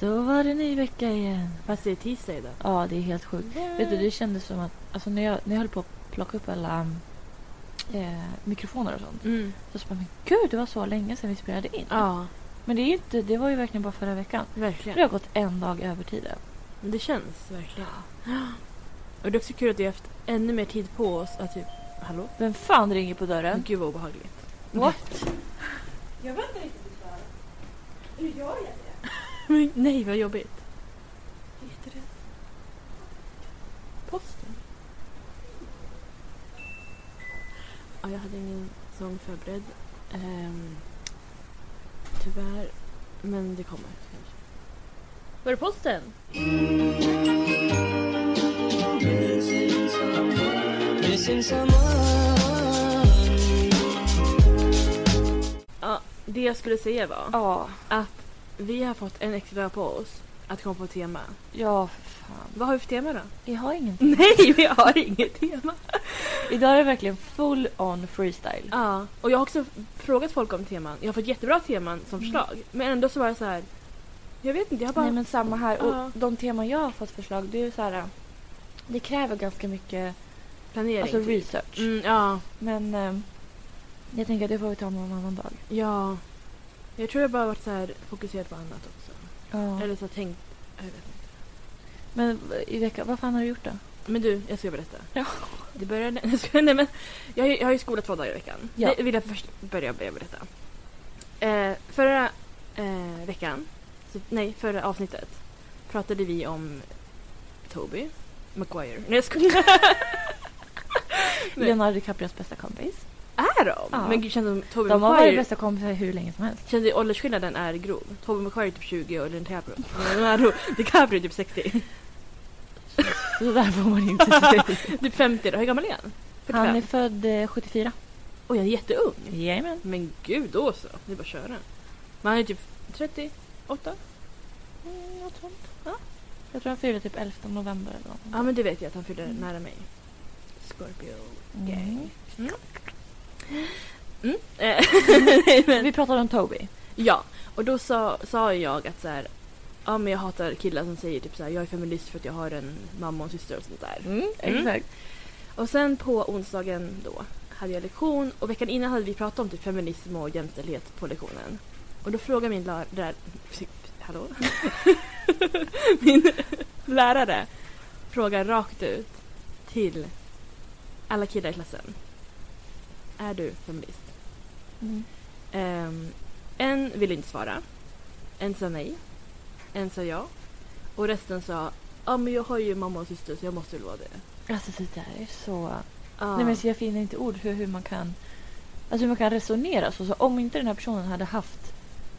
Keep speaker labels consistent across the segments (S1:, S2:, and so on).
S1: då var det ny vecka igen.
S2: Fast det är tisdag idag.
S1: Ja, det är helt sjukt. Vet du, det kändes som att alltså, när, jag, när jag höll på att plocka upp alla eh, mikrofoner och sånt.
S2: Mm.
S1: Så sa jag, men gud, det var så länge sedan vi spelade in.
S2: Ja,
S1: Men det, är ju inte, det var ju verkligen bara förra veckan. Det
S2: verkligen.
S1: har gått en dag över tiden.
S2: Men det känns verkligen. Och det är också kul att vi har haft ännu mer tid på oss att typ... Hallå?
S1: Vem fan ringer på
S2: Men
S1: dörren?
S2: gud vad obehagligt.
S1: What?
S2: Men nej vad jobbigt. Vad heter det? Posten? Ja, jag hade ingen sång förberedd. Ehm, tyvärr. Men det kommer kanske. Var det posten?
S3: Missing someone.
S2: Ja, det jag skulle säga var
S1: Ja,
S2: att vi har fått en extra dag på oss att komma på ett tema.
S1: ja för fan.
S2: Vad har vi för tema då?
S1: Vi har ingenting.
S2: Nej, vi har inget tema.
S1: Idag är det verkligen full on freestyle.
S2: Ja, och jag har också frågat folk om teman. Jag har fått jättebra teman som förslag. Men ändå så var det så här. Jag vet inte, jag har bara...
S1: Nej men samma här. Och
S2: Ja.
S1: de teman jag har fått förslag, det är ju så här. eh, Det kräver ganska mycket
S2: planering.
S1: alltså
S2: typ.
S1: research.
S2: mm, ja,
S1: Men ehm, jag tänker att det får vi ta någon annan dag.
S2: ja. Jag tror jag bara har varit så här fokuserad på annat också.
S1: Ja.
S2: Eller så här tänkt... Jag vet inte.
S1: Men eh, i veckan, vad fan har du gjort då?
S2: Men du, jag ska berätta.
S1: Ja.
S2: Det började... Jag ska, nej men, jag, har ju- jag har ju skola två dagar i veckan.
S1: Ja.
S2: Det vill jag först börja med att berätta. Eh, förra eh, veckan, så, nej förra avsnittet, pratade vi om Toby Maguire. Nej jag skojar. Nej.
S1: Leonardo DiCaprios bästa kompis.
S2: Är de?
S1: Ja.
S2: Men gud, kände Toby
S1: De har varit
S2: Maguire...
S1: bästa kompisar hur länge som helst.
S2: Kände åldersskillnaden är grov. Toby Maguire är typ 20 och DiCaprio Leonardo DiCaprio är typ 60.
S1: Så där får man inte säga.
S2: typ 50 då. Hur gammal är han? 45?
S1: Han är född eh, 74.
S2: Oj, han är jätteung.
S1: Jajamän.
S2: Men gud då så, det är bara att köra. Men han är typ 38?
S1: Mm, något sånt. Jag tror han fyller typ 11 november eller något.
S2: Ja men det vet jag att han fyller
S1: Mm.
S2: nära mig. Scorpio
S1: Mm.
S2: gang. Mm. Mm. eh, nej, men,
S1: Vi pratade om Toby.
S2: ja, och då sa, sa jag att så här, ja men jag hatar killar som säger typ så här, jag är feminist för att jag har en mamma och en syster och sånt där. exakt. Och sen på onsdagen då hade jag lektion och veckan innan hade vi pratat om typ feminism och jämställdhet på lektionen. Och då frågade min lärare... Hallå? min lärare frågar rakt ut till alla killar i klassen. Är du feminist?
S1: Mm.
S2: Ehm, en ville inte svara. En sa nej. En sa ja. Och resten sa ja men jag har ju mamma och syster så jag måste väl vara det.
S1: Alltså det där är så...
S2: Ja.
S1: Nej, men så jag finner inte ord för hur man kan alltså hur man kan resonera. Så, så om inte den här personen hade haft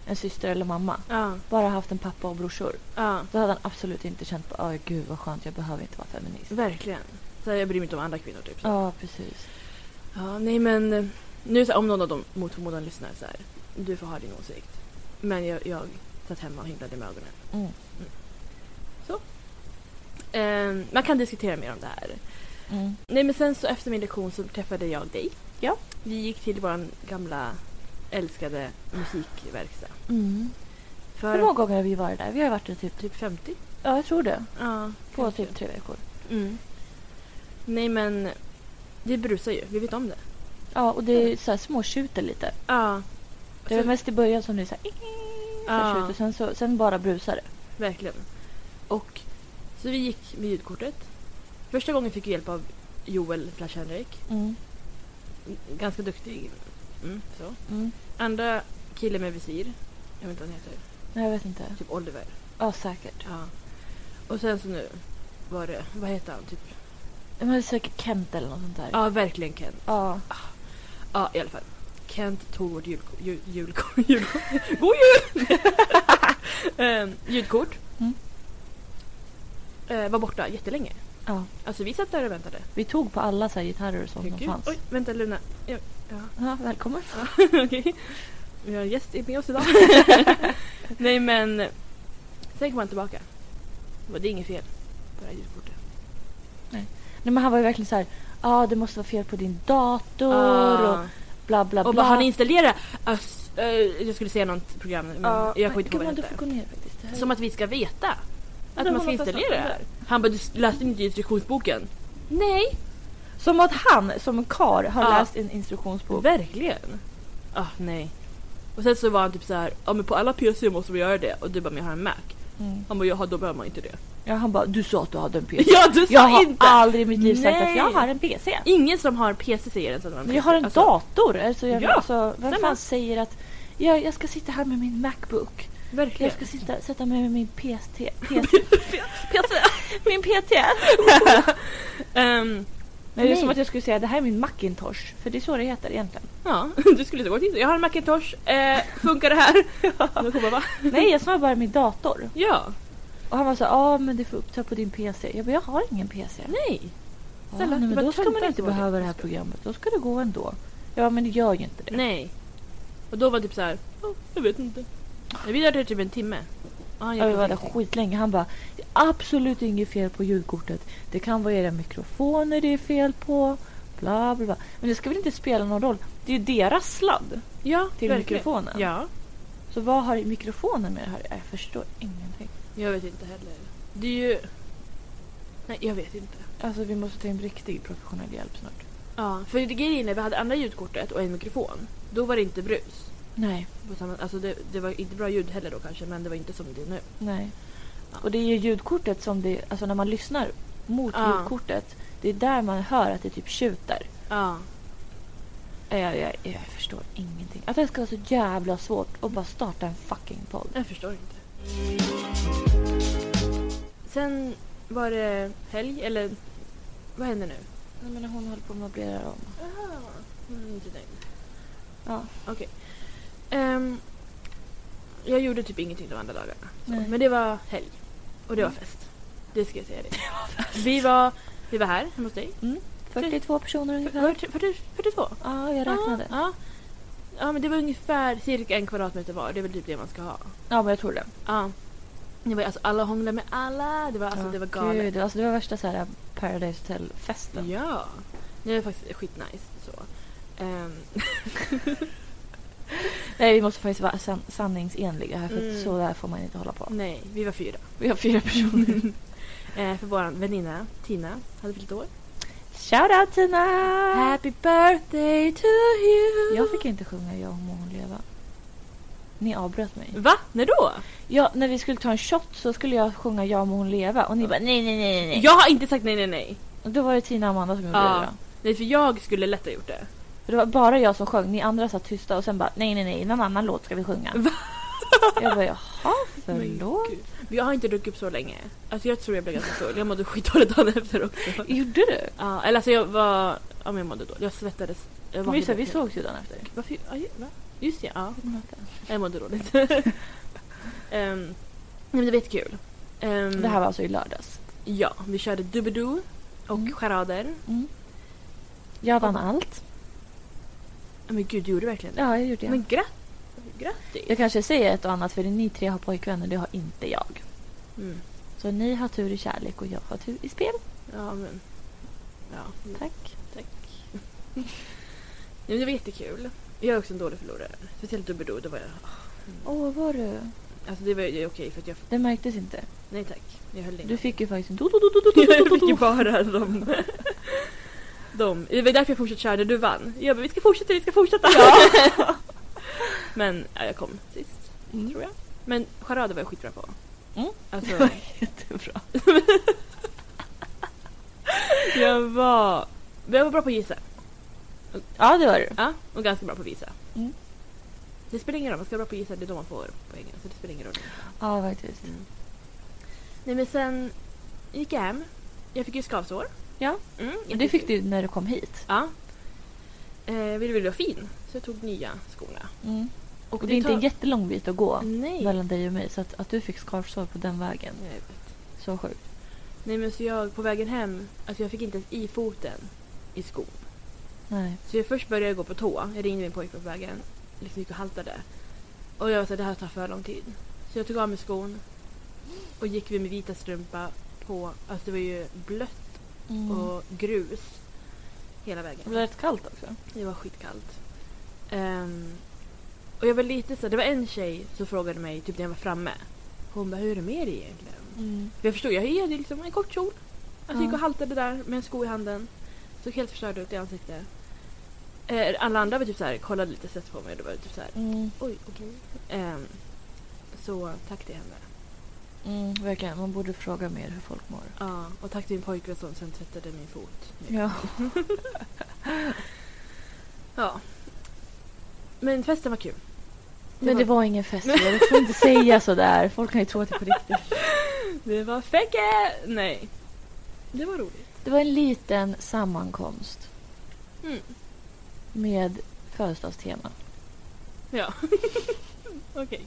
S1: en syster eller mamma,
S2: Ja,
S1: bara haft en pappa och brorsor,
S2: ja,
S1: då hade han absolut inte känt på "Åh, gud vad skönt, jag behöver inte vara feminist.
S2: verkligen. Så här, jag bryr mig inte om andra kvinnor typ. Ja,
S1: Ja, precis.
S2: nej men eh, nu så här, om någon av dem mot förmodan lyssnar så här. Du får ha din åsikt. Men jag, jag satt hemma och himlade med ögonen.
S1: Mm.
S2: Så. Ehm, man kan diskutera mer om det här.
S1: Mm.
S2: Nej men sen så efter min lektion så träffade jag dig.
S1: Ja.
S2: Vi gick till vår gamla älskade musikverkstad.
S1: Mm.
S2: För
S1: Hur många gånger har vi varit där? Vi har varit där typ,
S2: typ 50?
S1: ja jag tror det,
S2: Ja.
S1: på typ tre veckor.
S2: Mm. Nej men vi brusar ju, vi vet om det.
S1: Ja, och det är så här småtjuter lite.
S2: Ja.
S1: Det var
S2: Så-
S1: mest i början som det är så här, "Ing", så här
S2: Ja.
S1: tjuter, sen, så, sen bara brusar det.
S2: Verkligen. Och så vi gick med ljudkortet. Första gången fick vi hjälp av Joel slash Henrik.
S1: Mm.
S2: Ganska duktig. Mm, så.
S1: Mm.
S2: Andra killen med visir. Jag vet inte vad han heter.
S1: Nej, jag vet inte.
S2: Typ Oliver.
S1: Ja, säkert.
S2: Ja. Och sen så nu var det, vad heter han? Typ?
S1: Men det är säkert Kent eller något sånt där.
S2: Ja, verkligen Kent.
S1: ja.
S2: Ja, i alla fall. Kent tog vårt julko- jul, julko- julko- God jul! Ehm, ljudkort.
S1: Mm.
S2: Eh, var borta jättelänge.
S1: ja.
S2: Alltså vi satt där och väntade.
S1: Vi tog på alla så här gitarrer och sånt som
S2: Herregud.
S1: fanns.
S2: Oj, vänta Luna. Ja, ja.
S1: Ja, välkommen.
S2: Okej. Vi har en gäst med oss idag. Nej men. Sen kom han tillbaka. Och Det är inget fel på det här ljudkortet.
S1: Nej, men han var ju verkligen så här, ja ah, det måste vara fel på din dator
S2: Ah.
S1: och bla bla bla.
S2: och bara han installerade... Ass- eh, jag skulle säga något program men
S1: Ja,
S2: jag kommer
S1: men
S2: inte ihåg
S1: gumman,
S2: vad det
S1: du
S2: hette.
S1: får gå ner faktiskt. det här
S2: Som att vi ska
S1: Men
S2: veta
S1: det
S2: att man
S1: var
S2: ska
S1: något jag
S2: installera det här.
S1: snackade
S2: Han bara, du läste inte instruktionsboken. Nej,
S1: Som att han som kar har
S2: Ja.
S1: läst en instruktionsbok.
S2: verkligen. Ah, nej. Och sen så var han typ så här, ja men på alla PC måste man göra det. Och du bara, men jag har en Mac.
S1: Mm.
S2: Han bara, jaha då behöver man inte det.
S1: Ja, han bara du sa att du hade en PC.
S2: Ja du sa
S1: jag har
S2: inte!
S1: aldrig i mitt liv sagt
S2: Nej.
S1: att jag har en PC.
S2: Ingen som har PC säger ens att de har en
S1: Men
S2: PC.
S1: jag har en
S2: Alltså,
S1: dator. Alltså, jag,
S2: Ja,
S1: alltså, vem
S2: samma.
S1: fan säger att jag, jag ska sitta här med min Macbook.
S2: Verkligen.
S1: Jag ska sitta, sätta mig med min PST. PS,
S2: PC.
S1: min PT.
S2: Ehm,
S1: Nej, det är
S2: Nej.
S1: som att jag skulle säga det här är min Macintosh. För det är så det heter egentligen.
S2: ja, du skulle inte gå till Jag har en Macintosh. Eh, funkar det här? Jag kommer bara,
S1: Nej, jag sa bara min dator.
S2: ja.
S1: Och han var så ja ah, men du får uppta på din PC. Jag bara jag har ingen PC.
S2: Nej.
S1: Ja,
S2: snälla,
S1: nej,
S2: det
S1: men
S2: var
S1: då ska man
S2: töntar
S1: inte
S2: som var
S1: behöva
S2: det.
S1: det här programmet. Då ska det gå ändå. Jag bara men det gör ju inte det.
S2: Nej. Och då var det typ så här, "Ja, jag vet inte. Men Vi hade det typ en timme. Ja, han
S1: Jag
S2: hjälpte
S1: var där
S2: oss inte.
S1: skitlänge. Han bara, det är absolut inget fel på ljudkortet. Det kan vara era mikrofoner det är fel på. Bla bla bla. Men det ska väl inte spela någon roll. Det är ju deras sladd
S2: ja,
S1: till
S2: verkligen.
S1: mikrofonen.
S2: Ja,
S1: Så vad har mikrofonen med det här Jag förstår ingenting.
S2: jag vet inte heller. Det är ju... Nej, jag vet inte.
S1: Alltså vi måste ta in riktig professionell hjälp snart.
S2: Ja, för det grejen är när vi hade andra ljudkortet och en mikrofon, då var det inte brus.
S1: Nej,
S2: På samma, alltså det, det var inte bra ljud heller då kanske, men det var inte som det är nu.
S1: nej. Och det är ju ljudkortet som det, alltså när man lyssnar mot
S2: Ja.
S1: ljudkortet. Det är där man hör att det typ tjuter.
S2: Ja.
S1: Jag, jag, jag förstår ingenting. Att det ska vara så jävla svårt att bara starta en fucking podd.
S2: Jag förstår inte. Sen var det helg, eller vad händer nu?
S1: Nej, men hon håller på att möblera om.
S2: Aha. Mm, inte nöjd.
S1: Ja.
S2: Okej. Ehm, jag gjorde typ ingenting de andra dagarna. Så.
S1: Nej.
S2: Men det var helg. Och det var fest. Det ska jag säga dig. vi, var, vi var här hemma hos dig.
S1: 42 personer ungefär.
S2: 40, 40, 42?
S1: Ja, jag räknade.
S2: Ja, ja. ja, men det var ungefär cirka en kvadratmeter var. Det är väl typ det man ska ha.
S1: Ja, men jag tror det.
S2: Ja. Det var alltså alla hånglade med alla. Det var, alltså, det var galet. Mm.
S1: Gud, alltså, det var värsta så här Paradise Hotel-festen.
S2: Ja. Det var faktiskt skitnice. Så. Ehm,
S1: Nej, vi måste faktiskt vara san- sanningsenliga här för att
S2: Mm.
S1: så där får man inte hålla på.
S2: nej, vi var fyra.
S1: Vi har fyra personer.
S2: Eh, för vår väninna Tina hade fyllt år.
S1: Shout out Tina!
S2: Happy birthday to you!
S1: Jag fick inte sjunga Jag och må hon leva. Ni avbröt mig.
S2: Va? När då?
S1: Ja, när vi skulle ta en shot så skulle jag sjunga Jag må hon leva och ni bara nej, nej, nej, nej.
S2: Jag har inte sagt nej, nej, nej.
S1: Och då var det Tina och Amanda som gjorde
S2: Ja.
S1: det då.
S2: Nej, för jag skulle lätt ha gjort det.
S1: För det var bara jag som sjöng, ni andra satt tysta och sen bara nej nej nej, någon annan låt ska vi sjunga.
S2: Va?
S1: Jag bara jaha, förlåt.
S2: Men gud. Men jag har inte druckit upp så länge. Alltså jag tror jag blev ganska full. Jag mådde skitdåligt dagen efter också. Ja,
S1: Gjorde du?
S2: eller alltså jag var... Ja men jag mådde dåligt. Jag svettades. Jag
S1: Men just det,
S2: vaknade
S1: vi
S2: upp.
S1: sågs ju dagen efter.
S2: Varför? Ja, ju- va? Just det, ja. Jag mådde dåligt. Ehm, nej men det var jättekul. Um,
S1: Det här var alltså i lördags.
S2: Ja, vi körde dubbedoo och
S1: Mm.
S2: charader.
S1: Jag vann allt.
S2: Ja, Men gud, du gjorde verkligen det.
S1: Ja, jag gjorde det.
S2: Men gratt- grattis!
S1: jag kanske säger ett och annat för ni tre har pojkvänner, det har inte jag.
S2: Mm.
S1: Så ni har tur i kärlek och jag har tur i spel.
S2: Ja, men... Ja,
S1: Tack.
S2: tack. Nej, men det var jättekul. Jag är också en dålig förlorare. Speciellt dubbeldo, det var jag...
S1: Åh, var du?
S2: Alltså det var ju det är okej för att jag...
S1: Det märktes inte.
S2: Nej tack, jag höll
S1: Du
S2: inga.
S1: fick ju faktiskt en
S2: Jag fick ju bara de... de. Det var därför jag fortsatte köra när du vann. Jag bara, vi ska fortsätta, vi ska fortsätta! men ja, jag kom sist,
S1: Mm.
S2: tror jag. Men charader var jag skitbra på.
S1: Mm.
S2: Alltså,
S1: Jättebra.
S2: jag var... men Jag var bra på att gissa.
S1: Ja, det var du.
S2: Ja, och ganska bra på att visa.
S1: Mm.
S2: Det spelar ingen roll, man ska vara bra på att gissa, det är då man får poängen. Så det spelar ingen roll.
S1: Ja, faktiskt.
S2: Mm. Nej men sen gick jag hem. Jag fick ju skavsår.
S1: Ja.
S2: Mm,
S1: Det fick
S2: jättekul.
S1: du när du kom hit.
S2: Ja. Eh, jag ville vara fin, så jag tog nya skorna.
S1: Mm. Och det är inte
S2: tar-
S1: en jättelång bit att gå.
S2: Nej.
S1: mellan dig och mig. Så att, att du fick skarvsår på den vägen.
S2: Jag vet.
S1: Så sjukt.
S2: Nej men så jag på vägen hem, alltså jag fick inte ens i foten i skon.
S1: Nej.
S2: Så jag först började jag gå på tå. Jag ringde min pojkvän på vägen. Liksom gick och haltade. Och jag var så här, det här tar för lång tid. Så jag tog av mig skon och gick med min vita strumpa på, alltså det var ju blött
S1: Och
S2: och grus hela
S1: det
S2: vägen.
S1: blev rätt kallt också.
S2: Det var skitkallt. Ehm, och jag var lite så här, det var en tjej som frågade mig typ när jag var framme. Hon bara, hur är det med dig egentligen?
S1: Mm.
S2: För Jag förstod, jag hade liksom en kort kjol. Alltså
S1: Ja.
S2: gick och haltade där med en sko i handen. Såg helt förstörd ut i ansiktet. Eh, Alla andra var typ så här, kollade lite sett på mig och det var typ så här,
S1: Mm.
S2: oj okej. Ehm, så tack till henne.
S1: Mm, verkligen, man borde fråga mer hur folk mår.
S2: Ja, och tack till min pojkvän som sen tvättade min fot.
S1: Ja.
S2: Ja. Men festen var kul.
S1: Men det var ingen fest, du får inte säga sådär. Folk kan ju tro att det är på riktigt.
S2: Det var fäcke! Nej. Det var roligt.
S1: Det var en liten sammankomst
S2: Mm.
S1: med födelsedagstema.
S2: Ja. Okej.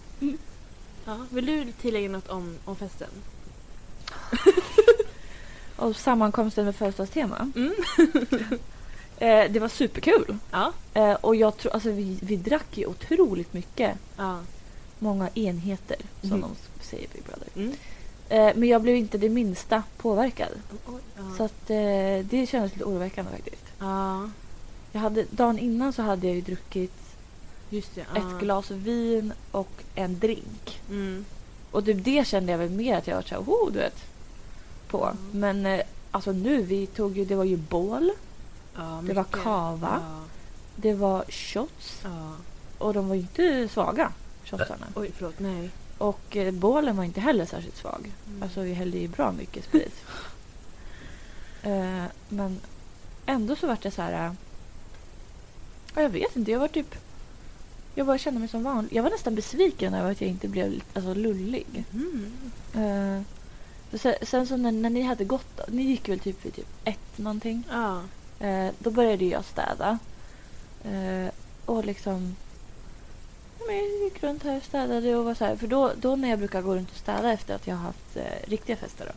S2: Ja, vill du tillägga något om, om festen?
S1: Och sammankomsten med födelsedagstema.
S2: Mm.
S1: Eh, det var superkul.
S2: Ja.
S1: Eh, och jag tror, alltså vi, vi drack ju otroligt mycket.
S2: Ja.
S1: Många enheter som
S2: Mhm.
S1: de s- säger i Big Brother.
S2: Mm.
S1: Eh, men jag blev inte det minsta påverkad.
S2: ja.
S1: Så att, eh, det kändes lite oroväckande faktiskt.
S2: ja.
S1: Jag hade, dagen innan så hade jag ju druckit
S2: Just det. ja.
S1: ett glas vin och en drink.
S2: Mm.
S1: Och typ det kände jag väl mer att jag var såhär, oh, du vet. På.
S2: Mm.
S1: Men eh, alltså nu, vi tog ju, det var ju bål,
S2: Ja,
S1: det var
S2: mycket.
S1: kava,
S2: Ja.
S1: det var shots.
S2: ja.
S1: Och de var ju inte svaga, shotsarna.
S2: Oj, förlåt. Nej.
S1: Och eh, bålen var inte heller särskilt svag.
S2: Mm.
S1: Alltså vi hällde ju bra mycket sprit. eh, men ändå så vart jag så här... eh, ja, Jag vet inte, jag var typ... Jag bara kände mig som vanlig. Jag var nästan besviken över att jag inte blev lite- alltså, lullig.
S2: Mm.
S1: Eh, och sen, sen så när, när ni hade gått, ni gick väl typ vid typ ett någonting.
S2: Ja.
S1: Eh, då började jag städa. Eh, och liksom... ja, men Jag gick runt här och städade. Och var så här, för då, då när jag brukar gå runt och städa efter att jag har haft eh, riktiga fester då,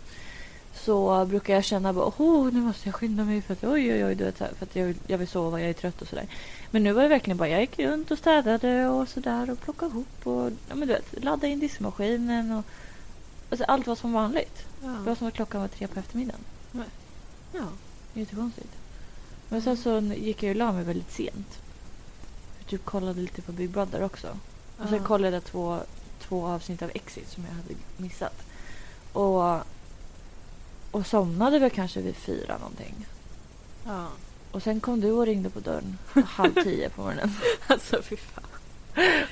S1: så brukar jag känna bara oh, nu måste jag skynda mig för att oj oj oj du vet, så här, för att jag, vill- jag vill sova, jag är trött och sådär. Men nu var det verkligen bara jag gick runt och städade och sådär och plockade ihop och ja, men du vet, laddade in diskmaskinen och alltså, allt var som vanligt.
S2: Ja.
S1: Det var som att klockan var tre på eftermiddagen.
S2: ja.
S1: Det är inte konstigt. Men sen så gick jag ju och la mig väldigt sent. Jag typ kollade lite på Big Brother också. Och sen
S2: Ja.
S1: kollade jag två, två avsnitt av Exit som jag hade missat. Och, och somnade väl kanske vid fyra någonting.
S2: Ja.
S1: Och sen kom du och ringde på dörren halv tio på morgonen.
S2: Alltså fy fan.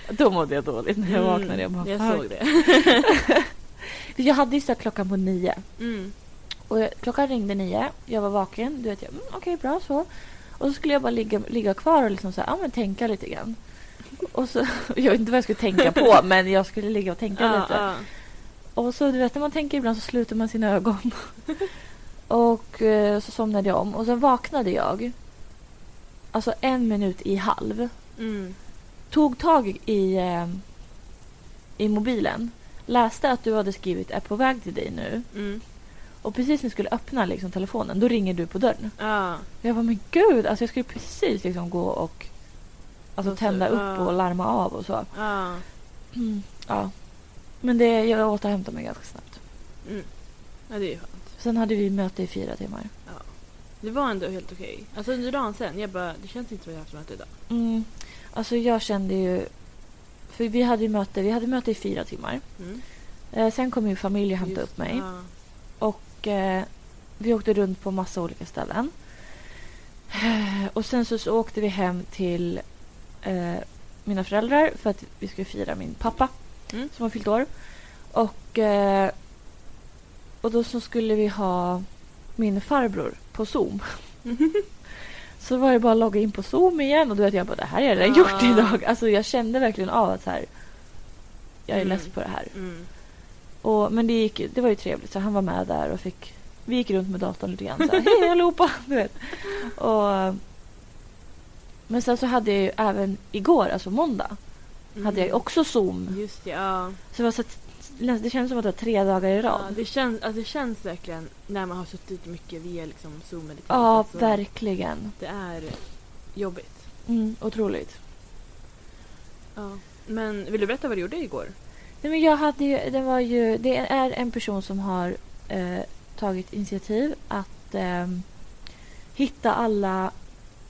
S1: Då mådde jag dåligt när jag
S2: Mm,
S1: vaknade. Jag, bara,
S2: jag
S1: "Fuck."
S2: såg det.
S1: jag hade ju satt klockan på nio.
S2: Mm.
S1: Och jag, klockan ringde nio, jag var vaken. Du vet, jag, mm, okej, bra så. Och så skulle jag bara ligga, ligga kvar och liksom så här, ja, men tänka lite grann. Och så, jag vet inte vad jag skulle tänka på, men jag skulle ligga och tänka
S2: Ja,
S1: lite.
S2: ja.
S1: Och så, du vet, när man tänker ibland så sluter man sina ögon. och eh, så somnade jag om. Och sen vaknade jag, alltså en minut i halv.
S2: Mm.
S1: Tog tag i, eh, i mobilen. Läste att du hade skrivit är på väg till dig nu.
S2: Mm.
S1: Och precis när jag skulle öppna liksom, telefonen, då ringer du på dörren.
S2: Ja.
S1: Jag var men gud, alltså jag skulle precis liksom gå och alltså,
S2: Och så-
S1: tända upp
S2: ja. Mm.
S1: och larma av och så.
S2: Ja.
S1: Ja. Men det, jag återhämtade mig ganska snabbt.
S2: Mm. Ja, det är ju skönt.
S1: Sen hade vi möte i fyra timmar.
S2: Det var ändå helt okej. Alltså under dagen sen, jag bara, det känns inte som att jag haft möte idag.
S1: Mm. Alltså jag kände ju... För vi hade ju möte, vi hade möte i fyra timmar.
S2: Mm.
S1: Eh, sen kom min familj och hämtade
S2: Just-
S1: upp mig.
S2: Ja.
S1: Och eh, vi åkte runt på massa olika ställen. Eh, Och sen så, så åkte vi hem till eh, mina föräldrar för att vi skulle fira min pappa
S2: Mm.
S1: som har fyllt år. Och, eh, och då så skulle vi ha min farbror på Zoom. så var det bara att logga in på Zoom igen och du vet jag bara det här har jag redan
S2: Ah.
S1: gjort idag. Alltså jag kände verkligen av att så här, jag är
S2: Mm.
S1: less på det här.
S2: Mm.
S1: Och, men det, gick, ju- det var ju trevligt, så han var med där och fick... Vi gick runt med datorn lite grann så här, hej allihopa! Du vet. Och, men sen så hade jag ju även igår, alltså måndag,
S2: Mm.
S1: hade jag ju också Zoom.
S2: Just det, ja.
S1: Så det, var så att, det kändes som att det var tre dagar i
S2: ja
S1: rad.
S2: det, känns, alltså det känns verkligen när man har suttit mycket via liksom zoom eller
S1: Ja,
S2: Teams, alltså,
S1: verkligen.
S2: Det är jobbigt.
S1: Mm, otroligt.
S2: Ja. Men vill du berätta vad du gjorde igår?
S1: Nej, men jag hade ju, det, var ju, det är en person som har eh, tagit initiativ att ehm, hitta alla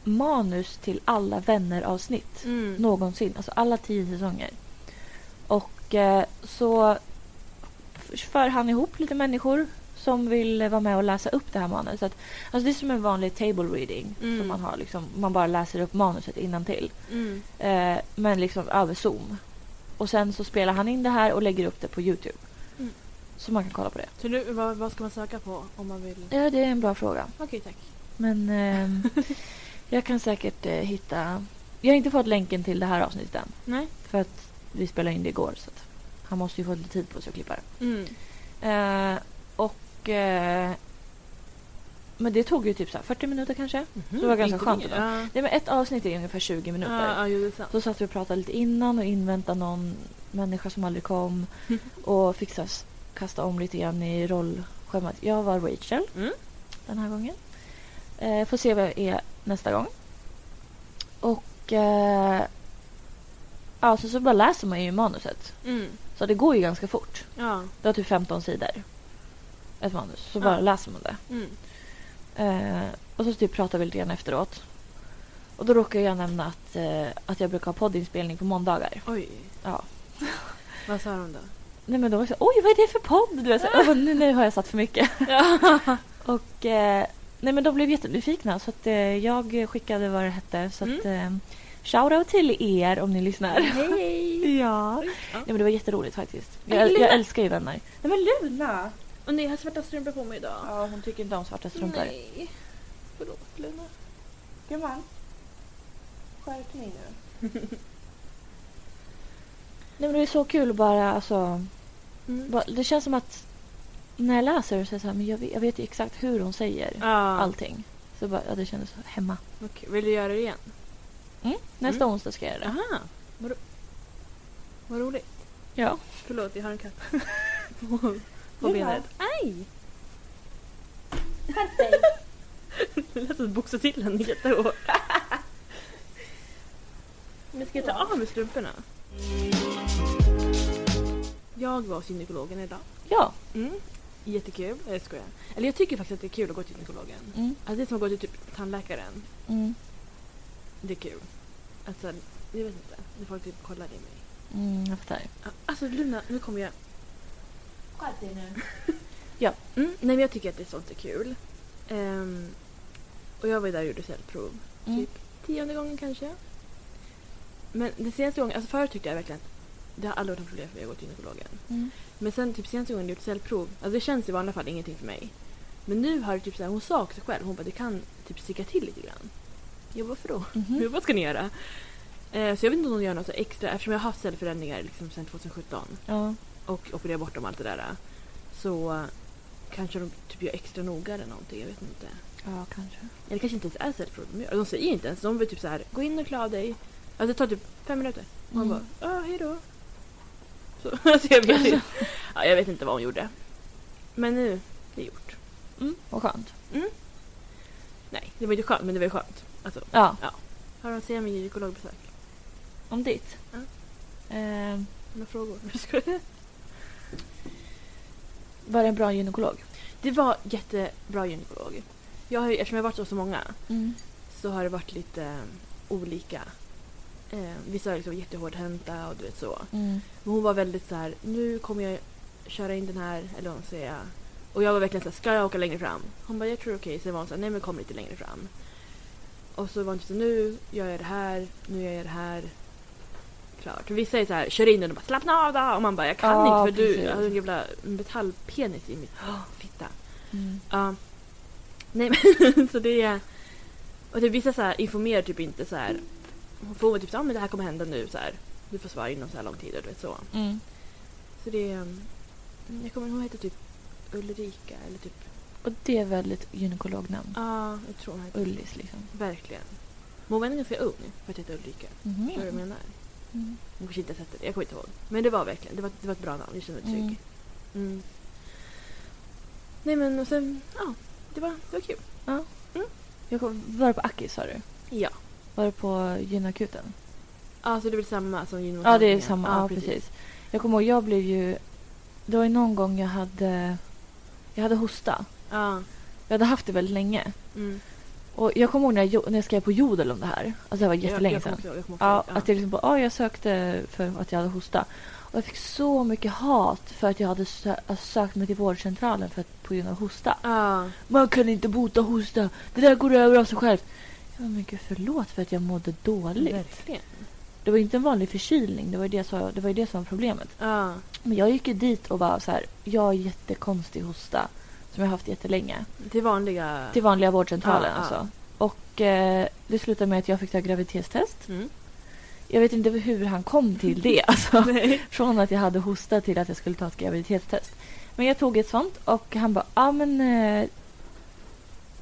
S1: manus till alla vänner-avsnitt.
S2: Mm.
S1: någonsin. Alltså alla tio säsonger. Och eh, så för han ihop lite människor som vill eh, vara med och läsa upp det här manuset. Alltså det är som en vanlig table reading
S2: Mm.
S1: som man har. Liksom, man bara läser upp manuset innantill.
S2: Mm.
S1: Eh, men liksom över Zoom. Och sen så spelar han in det här och lägger upp det på Youtube.
S2: Mm.
S1: Så man kan kolla på det.
S2: Så nu, vad, vad ska man söka på om man vill?
S1: Ja, det är en bra fråga.
S2: Okej, tack.
S1: Men ehm, jag kan säkert eh, hitta... Jag har inte fått länken till det här avsnittet än.
S2: Nej.
S1: För att vi spelade in det igår. Så att han måste ju få lite tid på sig att klippa det.
S2: Mm.
S1: Eh, och... Eh, men det tog ju typ så här 40 minuter kanske.
S2: Mhm,
S1: Mm-hmm. det var ganska
S2: inte
S1: skönt
S2: mer.
S1: ändå.
S2: Ja.
S1: Nej, men ett avsnitt är ungefär 20 minuter.
S2: Ja, ja, jo, det är sant.
S1: Så satt vi och pratade lite innan och inväntade någon människa som aldrig kom. Och fick så- kasta om lite grann i rollschemat. Jag var Rachel
S2: Mm.
S1: den här gången. Eh, får se vad jag är nästa gång. Och... Eh, ja, så, så bara läser man ju manuset.
S2: Mm.
S1: Så det går ju ganska fort.
S2: Ja.
S1: Det har typ 15 sidor. Ett manus. Så
S2: Ja.
S1: bara läser man det.
S2: Mm.
S1: Eh, och så typ pratar vi lite grann efteråt. Och då råkar jag nämna att, eh, att jag brukar ha poddinspelning på måndagar.
S2: Oj.
S1: Ja.
S2: Vad sa de då?
S1: Nej men de var så oj vad är det för podd? Du vet, så, jag bara, nu, nu har jag satt för mycket. Och eh, nej men de blev jättenyfikna så att eh, jag skickade vad det hette. Så att eh, shoutout till er om ni lyssnar.
S2: Hej!
S1: Ja.
S2: Oj, ja.
S1: Nej men det var jätteroligt faktiskt.
S2: Men
S1: Jag,
S2: Lina-
S1: jag älskar ju vänner. Nej men Luna!
S2: Och nej, jag har svarta strumpor på mig idag.
S1: Ja hon tycker inte om svarta strumpor.
S2: Nej. Förlåt Luna.
S1: Gumman. Skärp dig nu. Nej men det är så kul att bara alltså.
S2: Mm.
S1: Bara, det känns som att när jag läser så är det så här, men jag vet, jag vet ju exakt hur hon säger
S2: Ja.
S1: allting. Så bara, ja, det kändes hemma.
S2: Okej, Vill du göra det igen?
S1: Mm. Nästa onsdag ska jag göra det.
S2: Aha. Vad, ro- vad roligt.
S1: Ja.
S2: Förlåt, jag har en katt på, på benet. Aj! Det lät som att boxa till henne jättehårt. Men ska jag ta av mig strumporna? Jag var hos gynekologen idag.
S1: Ja.
S2: Mm. Jättekul. Nej, Jag skojar. Eller jag tycker faktiskt att det är kul att gå till gynekologen.
S1: Mm.
S2: Alltså det är som att gå till typ tandläkaren.
S1: Mm.
S2: Det är kul. Alltså, jag vet inte. När folk typ kollar i mig.
S1: Mm, jag fattar.
S2: Alltså Lina, nu kommer jag.
S1: Skärp dig nu.
S2: Mm, nej men jag tycker att det är sånt är kul. Ehm, och jag var ju där och gjorde cellprov.
S1: Mm.
S2: Typ tionde gången kanske. Men det senaste gången, alltså förut tyckte jag verkligen att det har aldrig varit något problem för mig att gå till gynekologen.
S1: Mm.
S2: Men sen typ senaste gången jag gjorde cellprov, alltså det känns i vanliga fall ingenting för mig. Men nu har det typ såhär, hon sa också själv, hon bara du kan typ sticka till lite grann. Jag bara varför då?
S1: Mhm.
S2: Men Vad ska ni göra? Eh, så jag vet inte om de gör något så extra eftersom jag har haft cellförändringar liksom sedan 2017
S1: Ja.
S2: och opererat bort dem allt det där. Så eh, kanske de typ gör extra noga eller någonting, jag vet inte.
S1: ja, kanske.
S2: Eller kanske inte ens är cellprov de gör. De säger inte ens, de vill typ så här gå in och klä av dig. Alltså det tar typ fem minuter. Och man
S1: Mm.
S2: bara, ah, hej då. Så, alltså jag vet inte. Ja, jag vet inte vad hon gjorde. Men nu, det är gjort.
S1: Mm. Vad skönt.
S2: Nej, det var inte skönt, men det var ju skönt. Alltså,
S1: Ja,
S2: har de ser min gynekologbesök?
S1: om ditt.
S2: Ja.
S1: Ehm,
S2: Några frågor? Jag skojar.
S1: var det en bra gynekolog?
S2: Det var jättebra gynekolog. Jag har ju, eftersom jag har varit hos så många
S1: Mm.
S2: så har det varit lite eh, olika. Eh, vissa är liksom jättehårdhänta och du vet så.
S1: Mm.
S2: Men hon var väldigt så här, nu kommer jag köra in den här, eller vad man säger. jag. Och jag var verkligen så här, ska jag åka längre fram? Hon bara, jag tror det är okej. Sen var hon så här, nej men kom lite längre fram. Och så var hon typ så här, nu gör jag det här, nu gör jag det här. Klart. Vissa är så här, kör in den och bara, slappna av då! Och man bara, jag kan
S1: Ja,
S2: inte för du,
S1: precis.
S2: jag har en jävla metallpenis i mitt fitta.
S1: Mm.
S2: Ja. Nej men så det är... Och typ vissa så här informerar typ inte så här. Hon får typ så här, ah, men det här kommer hända nu så här. Du får svara inom så här lång tid och du vet så.
S1: Mm.
S2: Så det är... um, Jag kommer ihåg hon heter typ Ulrika eller typ...
S1: Och det är väl ett gynekolognamn?
S2: Ja, jag tror hon heter
S1: Ullis liksom.
S2: Verkligen. Men hon var ändå ganska ung för att heta Ulrika.
S1: Mhm.
S2: Förstår du vad jag menar?
S1: Mm.
S2: Hon kanske inte har sett det, jag kommer inte ihåg. Men det var verkligen, det var, det var ett bra namn, jag kände mig trygg.
S1: Mm.
S2: Mm. Nej men och sen, ja. Det var, det var kul.
S1: Jag kom, var det på Akis sa du?
S2: Ja.
S1: Var det på gynakuten?
S2: Ja, så det är väl samma som gynmottagningen?
S1: Ja, det är samma. Ja, precis. Jag kommer ihåg, jag blev ju... Det var ju någon gång jag hade... Jag hade hosta.
S2: Ja.
S1: Jag hade haft det väldigt länge.
S2: Mm.
S1: Och jag kommer ihåg när jag, jo- när jag skrev på Jodel om det här. Alltså det här var
S2: Jag-
S1: jättelänge
S2: jag kommer
S1: sedan.
S2: också ihåg, Jag kommer också
S1: Ja,
S2: ihåg.
S1: att jag liksom bara, ja, jag sökte för att jag hade hosta. Och jag fick så mycket hat för att jag hade sö- alltså, sökt mig till vårdcentralen för att, på grund av hosta.
S2: Ja.
S1: Man kan inte bota hosta. Det där går över av sig självt. Ja, men gud, förlåt för att jag mådde dåligt.
S2: Verkligen.
S1: Det var inte en vanlig förkylning. Det var ju det, som- det, var ju det som var problemet.
S2: Ja.
S1: Men jag gick ju dit och bara så här. Jag har jättekonstig hosta som jag haft jättelänge.
S2: Till vanliga...
S1: Till vanliga vårdcentralen
S2: Ja, ja.
S1: alltså. Och eh, det slutade med att jag fick ta graviditetstest.
S2: Mm.
S1: Jag vet inte hur han kom till det. Alltså.
S2: Nej.
S1: Från att jag hade hosta till att jag skulle ta ett graviditetstest. Men jag tog ett sånt och han bara, ja ah, men... Eh...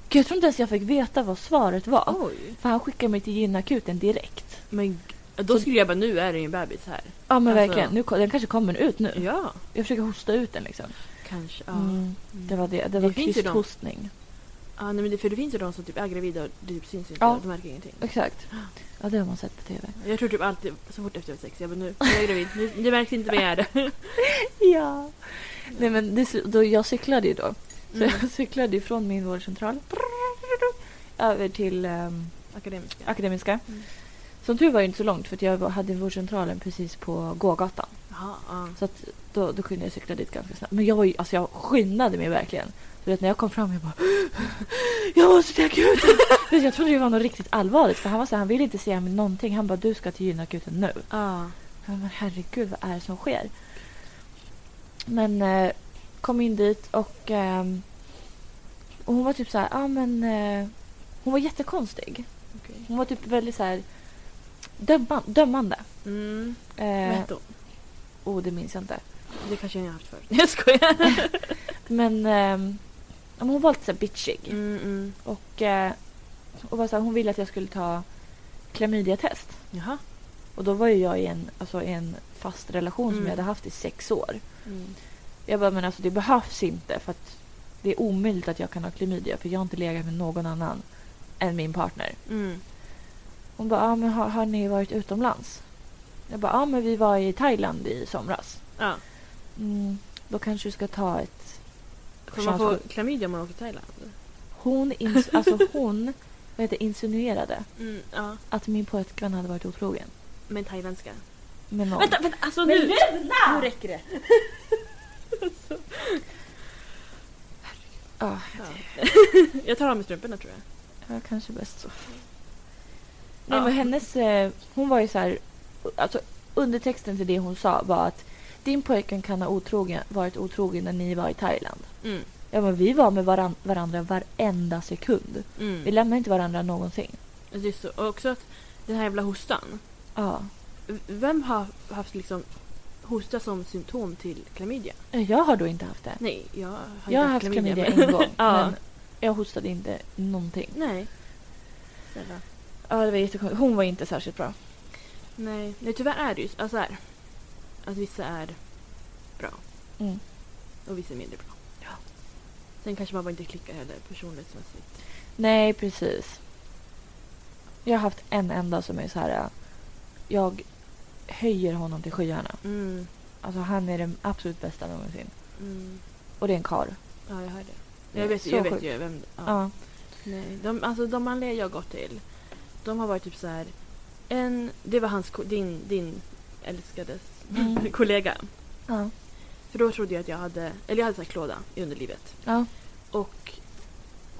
S1: Gud, jag tror inte ens jag fick veta vad svaret var.
S2: Oj.
S1: För han skickade mig till gynakuten direkt.
S2: Men g- då skulle jag bara, nu är det ju en bebis här.
S1: Ja men
S2: Alltså-
S1: verkligen, nu, ko- den kanske kommer ut nu.
S2: Ja.
S1: Jag försöker hosta ut den liksom.
S2: Kanske. Ja.
S1: Mm. Det var det, det
S2: Det
S1: var
S2: finns ju de-
S1: kysthostning.
S2: Ja, nej, men det, för det finns ju de som typ är gravida och det typ syns inte.
S1: Ja.
S2: De märker ingenting.
S1: Exakt. Ja det har man sett på TV.
S2: Jag tror typ alltid så fort efter jag var sex, jag bara nu är jag gravid. Nu, det märks inte mer.
S1: Ja. Nej men det, sl- då, jag cyklade ju då. Så
S2: Mm.
S1: jag cyklade ju från min vårdcentral över till ehm,
S2: Akademiska.
S1: Akademiska.
S2: Mm.
S1: Som tur var det inte så långt för att jag var- hade vårdcentralen precis på gågatan.
S2: Jaha, ja.
S1: Så att då, då kunde jag cykla dit ganska snabbt. Men jag, var ju, alltså jag skyndade mig verkligen. Du vet, när jag kom fram jag bara Jag måste till akuten! Du vet, jag trodde det var något riktigt allvarligt för han var så här, han ville inte säga mig någonting. Han bara du ska till gynakuten nu.
S2: Ja.
S1: Jag bara, men herregud vad är det som sker? Men eh, kom in dit och, ehm, och hon var typ så här, ah, men eh, hon var jättekonstig.
S2: Okej.
S1: Hon var typ väldigt så här döma, dömande.
S2: Mm. Vad
S1: Eh,
S2: hette hon?
S1: oh, det minns jag inte.
S2: Det kanske jag har haft förut. Jag skojar.
S1: Men ehm, ja, men hon var lite så här bitchig.
S2: Mm, mm.
S1: Och, eh, och var så här, hon ville att jag skulle ta klamydiatest.
S2: Jaha.
S1: Och då var ju jag i en, alltså, i en fast relation som
S2: Mm.
S1: jag hade haft i sex år.
S2: Mm.
S1: Jag bara, men alltså det behövs inte för att det är omöjligt att jag kan ha klamydia för jag har inte legat med någon annan än min partner.
S2: Mm.
S1: Hon bara, ah, men har, har ni varit utomlands? Jag bara, ja ah, men vi var i Thailand i somras.
S2: Ja.
S1: Mm, då kanske du ska ta ett...
S2: Får man få klamydia om man åker till Thailand?
S1: Hon, ins- alltså hon vad heter, det, insinuerade
S2: Mm, ja.
S1: att min pojkvän hade varit otrogen
S2: Med thailändska.
S1: med någon.
S2: Vänta, vänta, alltså
S1: Men
S2: nu! Luna! Nu räcker det.
S1: Ja,
S2: Jag tar av mig strumporna tror jag.
S1: ja, kanske bäst så. Nej,
S2: Ja.
S1: men hennes, eh, hon var ju så här... Alltså, undertexten till det hon sa var att din pojkvän kan ha otrogen, varit otrogen när ni var i Thailand.
S2: Mm.
S1: Ja, men vi var med varan- varandra varenda sekund.
S2: Mm. Alltså,
S1: Vi lämnade inte varandra någonsin.
S2: Det är så. Och också att den här jävla hostan.
S1: Ja.
S2: Vem har haft liksom hosta som symptom till klamydia?
S1: Jag har då inte haft det.
S2: Nej, jag har,
S1: Jag har haft klamydia
S2: men-
S1: en gång.
S2: ja.
S1: Men jag hostade inte någonting.
S2: Nej. Snälla.
S1: Ja, det var jättekonstigt. Hon var inte särskilt bra.
S2: Nej. Nej, tyvärr är det ju så alltså här, att vissa är bra
S1: Mm.
S2: och vissa är mindre bra.
S1: Ja.
S2: Sen kanske man bara inte klickar heller personlighetsmässigt.
S1: Nej, precis. Jag har haft en enda som är så här... äh, Jag höjer honom till skyarna.
S2: Mm.
S1: Alltså han är den absolut bästa någonsin.
S2: Mm.
S1: Och det är en karl.
S2: Ja, jag hör det.
S1: Ja,
S2: Jag vet,
S1: så
S2: ju- jag vet
S1: sjukt.
S2: ju vem... Ja.
S1: Ja.
S2: Nej, de, alltså de manliga jag har gått till, de har varit typ så här... En, det var hans, ko- din, din älskades
S1: Mm.
S2: kollega.
S1: Ja.
S2: För då trodde jag att jag hade, eller jag hade så här klåda i underlivet.
S1: Ja.
S2: Och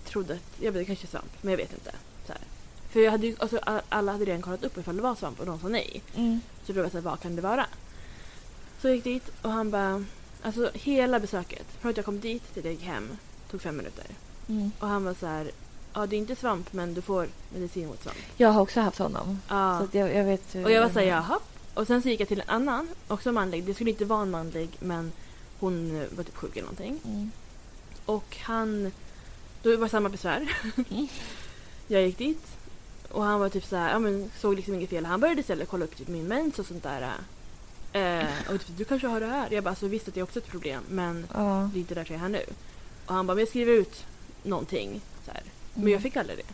S2: trodde att, jag vet det kanske är svamp, men jag vet inte. Så här. För jag hade ju, alltså, a- alla hade redan kollat upp ifall det var svamp och de sa nej.
S1: Mm.
S2: Så då var jag så här, vad kan det vara? Så jag gick dit och han bara, alltså hela besöket, från att jag kom dit till jag gick hem, tog fem minuter.
S1: Mm.
S2: Och han var så här, ja det är inte svamp men du får medicin mot svamp.
S1: Jag har också haft honom. Så
S2: Ja.
S1: att jag, jag vet hur-
S2: Och jag var så här, jaha. Och sen så gick jag till en annan, också manlig, det skulle inte vara en manlig men hon eh, var typ sjuk eller någonting.
S1: Mm.
S2: Och han... Då var det samma besvär.
S1: Mm.
S2: jag gick dit och han var typ så här, ja, men såg liksom inget fel. Han började istället kolla upp typ min mens och sånt där. Eh, och typ, du kanske har det här? Jag bara, alltså, visst att det är också ett problem men
S1: Ja.
S2: det är inte därför jag är här nu. Och han bara, men jag skriver ut någonting. Så här. Men jag fick aldrig det.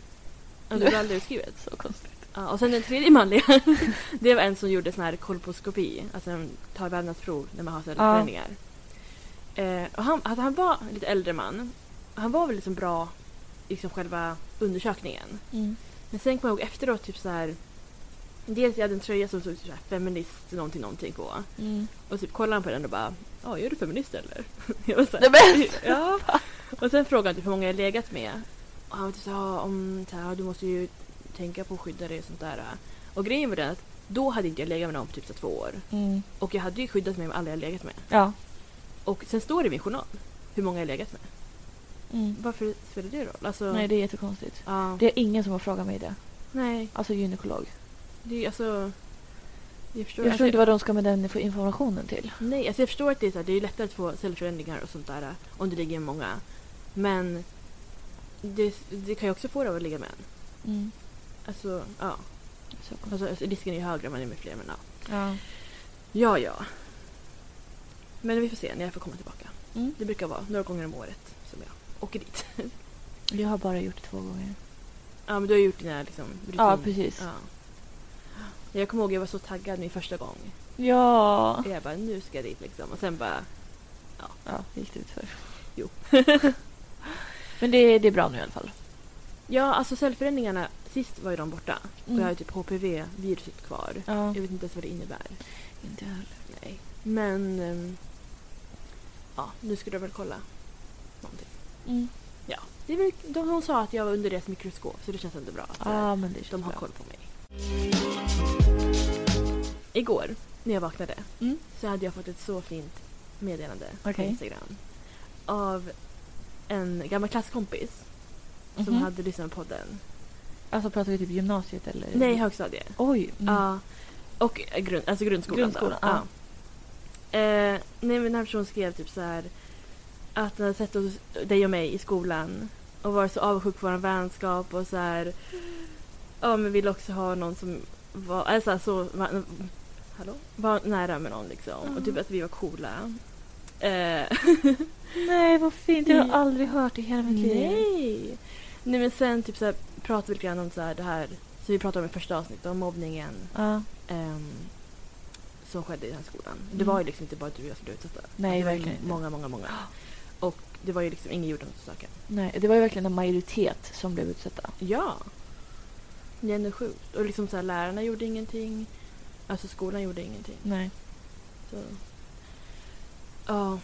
S2: Alltså, det blev aldrig utskrivet.
S1: så konstigt.
S2: Ja, och sen den tredje manliga, det var en som gjorde sån här kolposkopi, alltså man tar vävnadsprov när man har
S1: Ja.
S2: cellförändringar. Eh, och han, alltså han var en lite äldre man. Han var väl liksom bra i liksom själva undersökningen.
S1: Mm.
S2: Men sen kom jag ihåg efteråt typ så här Dels jag hade en tröja som stod så här, feminist någonting någonting på.
S1: Mm.
S2: Och typ kollade han på den och bara ”Oj, är du feminist eller?” jag var så här,
S1: Det bästa.
S2: Ja. Och sen frågade han typ hur många jag legat med. Och han var typ så här, "Ja, om, så här, du måste ju tänka på att skydda dig och sånt där. Och grejen var den att då hade inte jag legat med någon på typ så här två år.
S1: Mm.
S2: Och jag hade ju skyddat mig med alla jag legat med.
S1: Ja.
S2: Och sen står det i min journal hur många jag legat med.
S1: Mm.
S2: Varför spelar det roll? Alltså,
S1: Nej, det är jättekonstigt.
S2: ja.
S1: Det är ingen som har frågat mig det.
S2: Nej,
S1: Alltså gynekolog.
S2: det är ju alltså... Jag förstår,
S1: Jag förstår
S2: alltså,
S1: inte vad de ska med den för informationen till.
S2: Nej, alltså jag förstår att det är, så här, det är lättare att få cellförändringar och sånt där eh, om det ligger många. Men det, det kan ju också få det av att ligga med en.
S1: Mm.
S2: Alltså, ja.
S1: Så konstigt.
S2: Alltså, alltså, risken är ju högre om man är med fler. Men ja.
S1: Ja.
S2: ja, ja. Men vi får se när jag får komma tillbaka.
S1: Mm.
S2: Det brukar vara några gånger om året som jag åker dit.
S1: Jag har bara gjort det två gånger.
S2: ja, men du har gjort dina liksom, rutiner.
S1: Ja, precis.
S2: Ja. Jag kommer ihåg jag var så taggad min första gång.
S1: Ja.
S2: Jag bara, nu ska jag dit liksom. Och sen bara,
S1: Ja, gick det ut för.
S2: Jo.
S1: Men det, det är bra nu i alla fall.
S2: ja alltså cellförändringarna, sist var ju de borta. Och jag har ju
S1: Mm.
S2: typ HPV-viruset kvar.
S1: Ja.
S2: Jag vet inte ens vad det innebär.
S1: Inte jag heller.
S2: Nej. Men, ehm, ja, nu skulle jag väl kolla någonting.
S1: Mm.
S2: Det är väl, de, hon sa att jag var under deras mikroskop så det känns ändå bra att eh,
S1: Ja, men det
S2: de
S1: känns
S2: har
S1: bra.
S2: koll på mig. Igår när jag vaknade
S1: Mm.
S2: så hade jag fått ett så fint meddelande på
S1: Okej.
S2: Instagram av en gammal klasskompis som
S1: Mhm.
S2: hade lyssnat på podden.
S1: Alltså pratar vi typ gymnasiet eller?
S2: Nej, högstadiet.
S1: Oj. Mm.
S2: Ja. Och eh, grund, alltså grundskolan.
S1: Grundskolan,
S2: då.
S1: ja.
S2: Eh, nej, men den här personen skrev typ så här att den hade sett oss, dig och mig i skolan och var så avundsjuk på vår vänskap och så här. Ja, men ville också ha någon som var, alltså så, var, hallå? var nära med någon liksom. Och typ
S1: Ja.
S2: att vi var coola. Eh,
S1: Mm. Nej, vad fint. Jag har aldrig hört i hela mitt liv.
S2: Nej! Nej men sen typ så här, pratade vi lite grann om så här, det här som vi pratade om i första avsnittet, om mobbningen
S1: Ja.
S2: ehm, som skedde i den här skolan. Det
S1: Mm.
S2: var ju liksom inte bara du och jag som blev utsatta.
S1: Nej,
S2: det var ju
S1: verkligen inte.
S2: Många, många, många. Och det var ju liksom ingen gjorde något åt saken.
S1: Nej, det var ju verkligen en majoritet som blev utsatta.
S2: Ja! Det är ändå sjukt. Och liksom så här, lärarna gjorde ingenting. Alltså skolan gjorde ingenting.
S1: Nej.
S2: Så. Ja.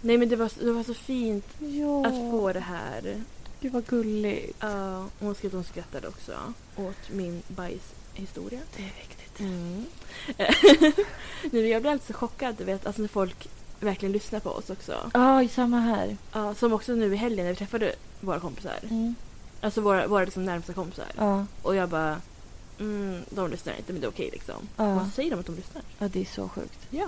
S2: Nej men det var, det var så fint
S1: Ja.
S2: att få det här.
S1: Gud vad gulligt.
S2: Ja, och hon skrev att hon skrattade också åt min bajshistoria.
S1: Det är viktigt.
S2: Mm. nu, jag blir alltid så chockad du vet, alltså när folk verkligen lyssnar på oss också.
S1: Ja, samma här.
S2: Ja, som också nu i helgen när vi träffade våra kompisar.
S1: Mm.
S2: Alltså våra, våra liksom närmsta kompisar.
S1: Ja.
S2: Och jag bara, mm, de lyssnar inte men det är okej liksom.
S1: Ja.
S2: Vad säger de att de lyssnar?
S1: ja, det är så sjukt.
S2: Ja.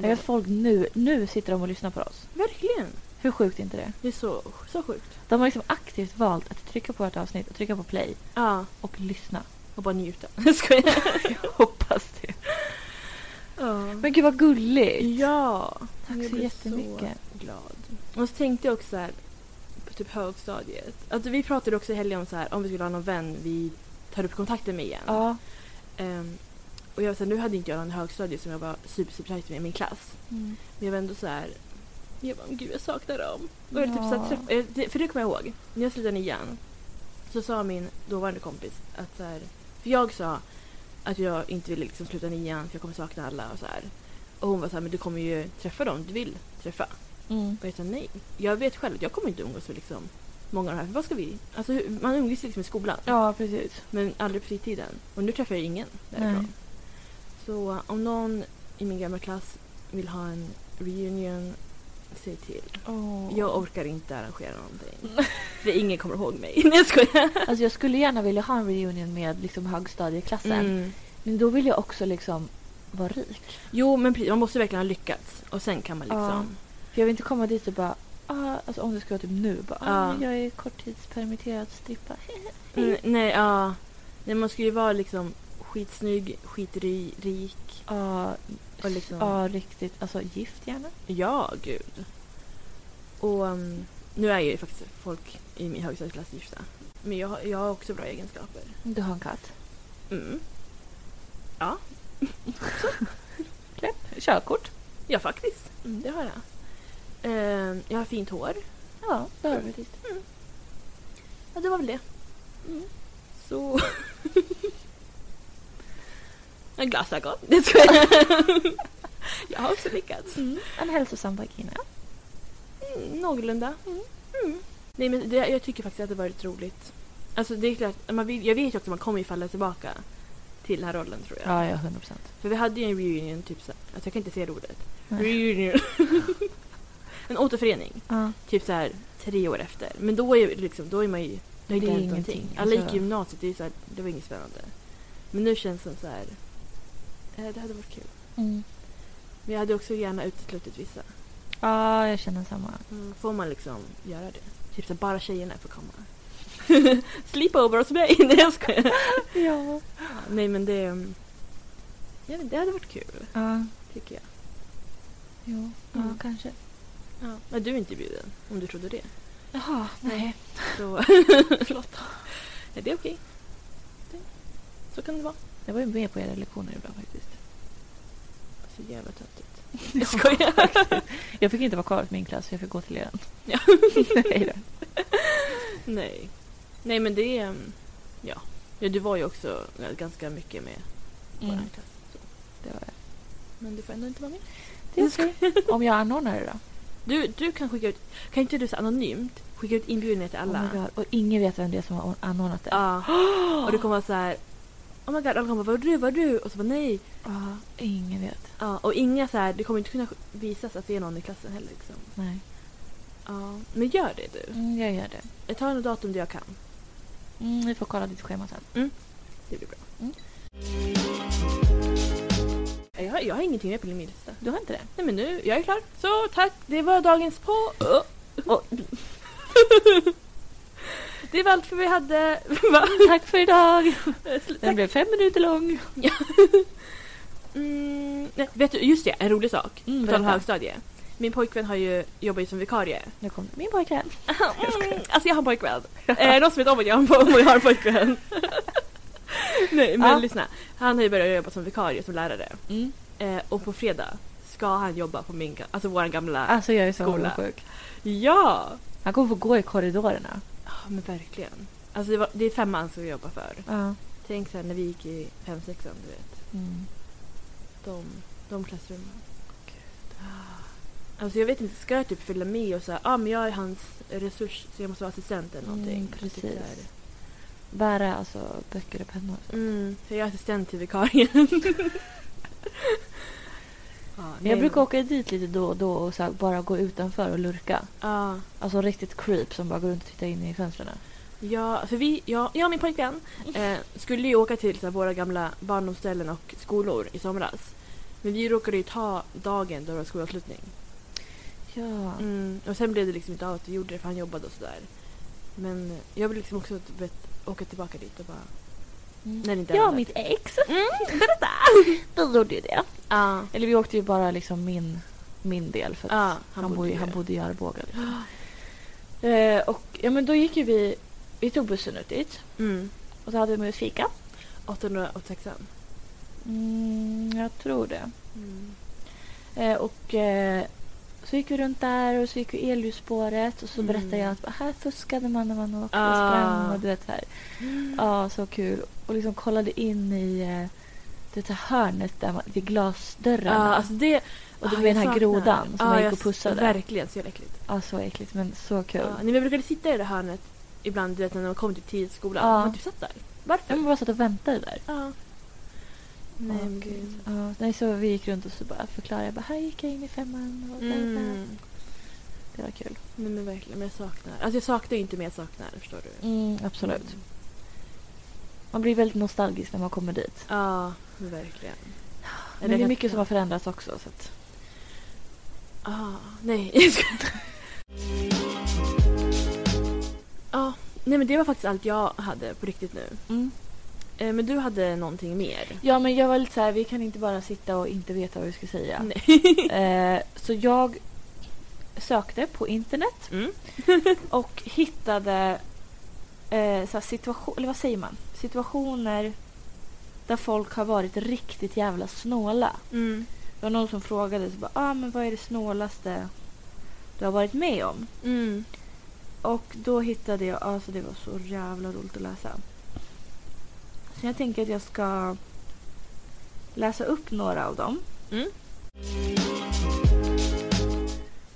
S1: Jag
S2: bara,
S1: vet folk nu, nu sitter de och lyssnar på oss.
S2: verkligen.
S1: Hur sjukt är inte det?
S2: Det är så, så sjukt.
S1: De har liksom aktivt valt att trycka på vårt avsnitt och trycka på play
S2: Ja,
S1: och lyssna.
S2: och bara njuta. Skojar.
S1: Jag hoppas det.
S2: Ja.
S1: Men gud vad gulligt.
S2: Ja.
S1: Tack
S2: jag
S1: så
S2: blir
S1: jättemycket.
S2: glad. Och så tänkte jag också så här, på typ högstadiet. Att vi pratade också i helgen om så här, om vi skulle ha någon vän vi tar upp kontakten med igen.
S1: Ja.
S2: Ehm, och jag var så här, nu hade inte jag någon högstadie som jag var super, super tajt med i min klass.
S1: Mm.
S2: Men jag var ändå så här, jag bara, gud jag saknar dem. Och jag typ så här,
S1: Ja.
S2: träff- eh, det- för det kommer jag ihåg, när jag slutade nian så sa min dåvarande kompis att så här, för jag sa att jag inte ville liksom sluta nian för jag kommer sakna alla och så här. Och hon var så här, men du kommer ju träffa dem du vill träffa.
S1: Mm.
S2: Och jag sa nej. Jag vet själv att jag kommer inte umgås med liksom många av de här. För vad ska vi? Alltså, hur- man umgås liksom i skolan
S1: Ja, precis.
S2: men aldrig på fritiden. Och nu träffar jag ingen därifrån.
S1: Nej.
S2: Så om någon i min gamla klass vill ha en reunion, säg till.
S1: Oh.
S2: Jag orkar inte arrangera någonting. För ingen kommer ihåg mig. Nej jag skojar.
S1: Alltså jag skulle gärna vilja ha en reunion med liksom högstadieklassen.
S2: Mm.
S1: Men då vill jag också liksom vara rik.
S2: Jo men precis, man måste verkligen ha lyckats. Och sen kan man liksom.
S1: För jag vill inte komma dit och bara, ah, alltså om det skulle vara typ nu, bara, ah,
S2: Ja.
S1: jag är korttidspermitterad strippa.
S2: Mm, nej ja. Nej, man ska ju vara liksom skitsnygg, skitrik.
S1: Ja,
S2: Och liksom-
S1: ja, riktigt. Alltså gift gärna.
S2: Ja gud. Och um, nu är ju faktiskt folk i min högstadieklass gifta. Men jag, har- jag har också bra egenskaper.
S1: Du har en katt.
S2: Mm.
S1: Körkort.
S2: Ja, faktiskt. Mm, det har jag. Ehm, jag har fint hår.
S1: Ja, det har du visst.
S2: Mm. Ja, det var väl det.
S1: Mm.
S2: Så... En glasögon. Det ska jag. jag har också lyckats.
S1: En hälsosam vagina.
S2: Mm, någorlunda. Mm. Nej, men det, jag tycker faktiskt att det varit roligt. Alltså det är klart, man vill, jag vet ju också att man kommer ju falla tillbaka till den här rollen tror jag.
S1: Ja, ja, 100 procent.
S2: För vi hade ju en reunion, typ så, alltså jag kan inte säga det ordet.
S1: Nej.
S2: Reunion. en återförening,
S1: Ja.
S2: typ så här tre år efter. Men då är, ju liksom, då är man ju, det har
S1: Det
S2: inte
S1: är
S2: hänt
S1: ingenting,
S2: någonting. Alla gick
S1: alltså.
S2: i gymnasiet, det, är ju så här, det var inget spännande. Men nu känns det som så här, eh, det hade varit kul.
S1: Mm.
S2: Men jag hade också gärna uteslutit vissa.
S1: ja, jag känner samma.
S2: Mm, Får man liksom göra det? Typ så här, bara tjejerna får komma. Sleepover hos mig! Nej jag skojar.
S1: Ja.
S2: Nej men det... mm, Jag vet, det hade varit kul,
S1: Ja,
S2: tycker jag.
S1: jo, ja,
S2: Mm.
S1: kanske.
S2: Ja. Men du är inte bjuden, om du trodde det.
S1: Jaha, nej.
S2: Så... Förlåt. Nej, det är okej. Det- Så kan det vara.
S1: Jag var ju med på era lektioner ibland faktiskt.
S2: Så jävla töntigt. Jag skojar.
S1: Jag fick inte vara kvar i min klass, för jag fick gå till er.
S2: Ja.
S1: nej då.
S2: Nej. Nej men det är... mm, Ja. ja. Du var ju också ja, ganska mycket med på
S1: Mm.
S2: den här klassen. Så.
S1: Det var jag.
S2: Men du får ändå inte vara med.
S1: Det är okej. Om jag anordnar det då?
S2: Du, du kan skicka ut... Kan inte du så anonymt skicka ut inbjudningar till alla?
S1: Oh my God. Och ingen vet vem det är som har anordnat det.
S2: Ja. Och du kommer vara så här... Oh my god, alla kommer bara, var du, var du? Och så bara nej.
S1: Ja, ingen vet.
S2: Ja, och inga så här, det kommer inte kunna visas att det är någon i klassen heller liksom.
S1: Nej.
S2: Ja, men gör det du.
S1: Mm, jag gör det.
S2: Jag tar något datum där jag kan.
S1: Mm, vi får kolla ditt schema sen.
S2: Det blir bra.
S1: Mm.
S2: Jag, har, jag har ingenting mer på min lista.
S1: Du har inte det?
S2: Nej men nu, jag är klar. Så tack, det var dagens på.
S1: Oj.
S2: Det var allt för vi hade. Va?
S1: Tack för idag! Den
S2: Tack.
S1: blev fem minuter lång.
S2: Mm, nej, vet du, just det, en rolig sak.
S1: Mm,
S2: På tal om
S1: berätta.
S2: högstadie. Min pojkvän har ju, jobbar ju som vikarie.
S1: Nu kom min pojkvän.
S2: Mm, alltså jag har en pojkvän. Eh, någon som vet om att jag har en, po- om jag har en pojkvän. Nej men
S1: Ja.
S2: lyssna. Han har ju börjat jobba som vikarie, som lärare.
S1: Mm.
S2: Eh, och på fredag ska han jobba på min, ga- alltså våran gamla...
S1: Alltså jag är så
S2: Skola.
S1: avundsjuk.
S2: Ja!
S1: Han kommer få gå i korridorerna.
S2: Ja men verkligen. Alltså det, var, det är femman som vi jobbar för.
S1: Ja.
S2: Tänk sen när vi gick i fem, sexan, du vet.
S1: Mm.
S2: De, de klassrummen. Alltså jag vet inte, ska jag typ följa med och säga ah, men jag är hans resurs så jag måste vara assistent eller någonting.
S1: Mm,
S2: Typ
S1: precis.
S2: så här.
S1: Bära alltså böcker och pennor.
S2: Mm, så jag är assistent till vikarien. ja, nej,
S1: Jag brukar åka dit lite då och då och så här bara gå utanför och lurka.
S2: Ja,
S1: Alltså riktigt creep som bara går runt och tittar in i fönstren.
S2: ja, för vi, ja, jag och min pojkvän eh, skulle ju åka till så här, våra gamla barndomsställen och skolor i somras. Men vi råkade ju ta dagen då det var skolavslutning.
S1: Ja.
S2: Mm, och sen blev det liksom inte av att vi gjorde det för han jobbade och sådär. Men jag vill liksom också du vet, åka tillbaka dit och bara... När det inte
S1: Jag och
S2: händer.
S1: Mm. mitt ex. Berätta! Vi gjorde ju det.
S2: Ja.
S1: Eller vi åkte ju bara liksom min, min del för att
S2: Ja,
S1: han,
S2: han
S1: bodde,
S2: bodde
S1: ju-
S2: ju-
S1: han bodde i Arboga. Liksom. Eh, och ja, men då gick ju vi, vi tog bussen ut dit
S2: Mm.
S1: och så hade vi med oss fika.
S2: 886
S1: Mm, jag tror det.
S2: mm.
S1: Eh, och eh, så gick vi runt där och så gick vi elljusspåret och så
S2: Mm.
S1: berättade jag att bara, här fuskade man när man åkte och
S2: Ah.
S1: sprang och du vet så här. Ja, så kul. Och liksom kollade in i eh, det här hörnet där man, vid
S2: Ja,
S1: glasdörrarna.
S2: alltså det...
S1: och det
S2: ah,
S1: var den
S2: jag
S1: här
S2: saknar.
S1: grodan som
S2: Ja,
S1: jag gick
S2: jag
S1: och pussade.
S2: Verkligen, så jävla äckligt.
S1: Ja, så alltså, äckligt men så kul.
S2: Ja, nej, men jag brukade sitta i det hörnet ibland du vet, när man kom till tidigt skolan.
S1: Ja.
S2: Man typ satt där.
S1: Varför? Man bara satt och väntade där.
S2: Ja. Nej, men gud.
S1: Ja, nej, så vi gick runt och så bara förklarade jag. Bara, här gick jag in i femman. Och där, där.
S2: Mm.
S1: Det var kul.
S2: Nej men verkligen, men jag saknar. Alltså jag saknar ju inte men jag saknar, förstår du.
S1: Mm, absolut. Man blir väldigt nostalgisk när man kommer dit.
S2: Ja, men verkligen.
S1: Men det är mycket som har förändrats också. Så att,
S2: Ah, nej, jag skojar. Ja, nej men det var faktiskt allt jag hade på riktigt nu.
S1: Mm.
S2: Eh, men du hade någonting mer?
S1: Ja, men jag var lite så här, vi kan inte bara sitta och inte veta vad vi ska säga.
S2: Nej.
S1: Eh, så jag sökte på internet
S2: Mm.
S1: och hittade eh, så här situation, eller vad säger man? situationer där folk har varit riktigt jävla snåla.
S2: Mm.
S1: Det var någon som frågade så bara, ah, men vad är det snålaste du har varit med om?
S2: Mm.
S1: Och då hittade jag, alltså det var så jävla roligt att läsa. Så jag tänker att jag ska läsa upp några av dem.
S2: Mm.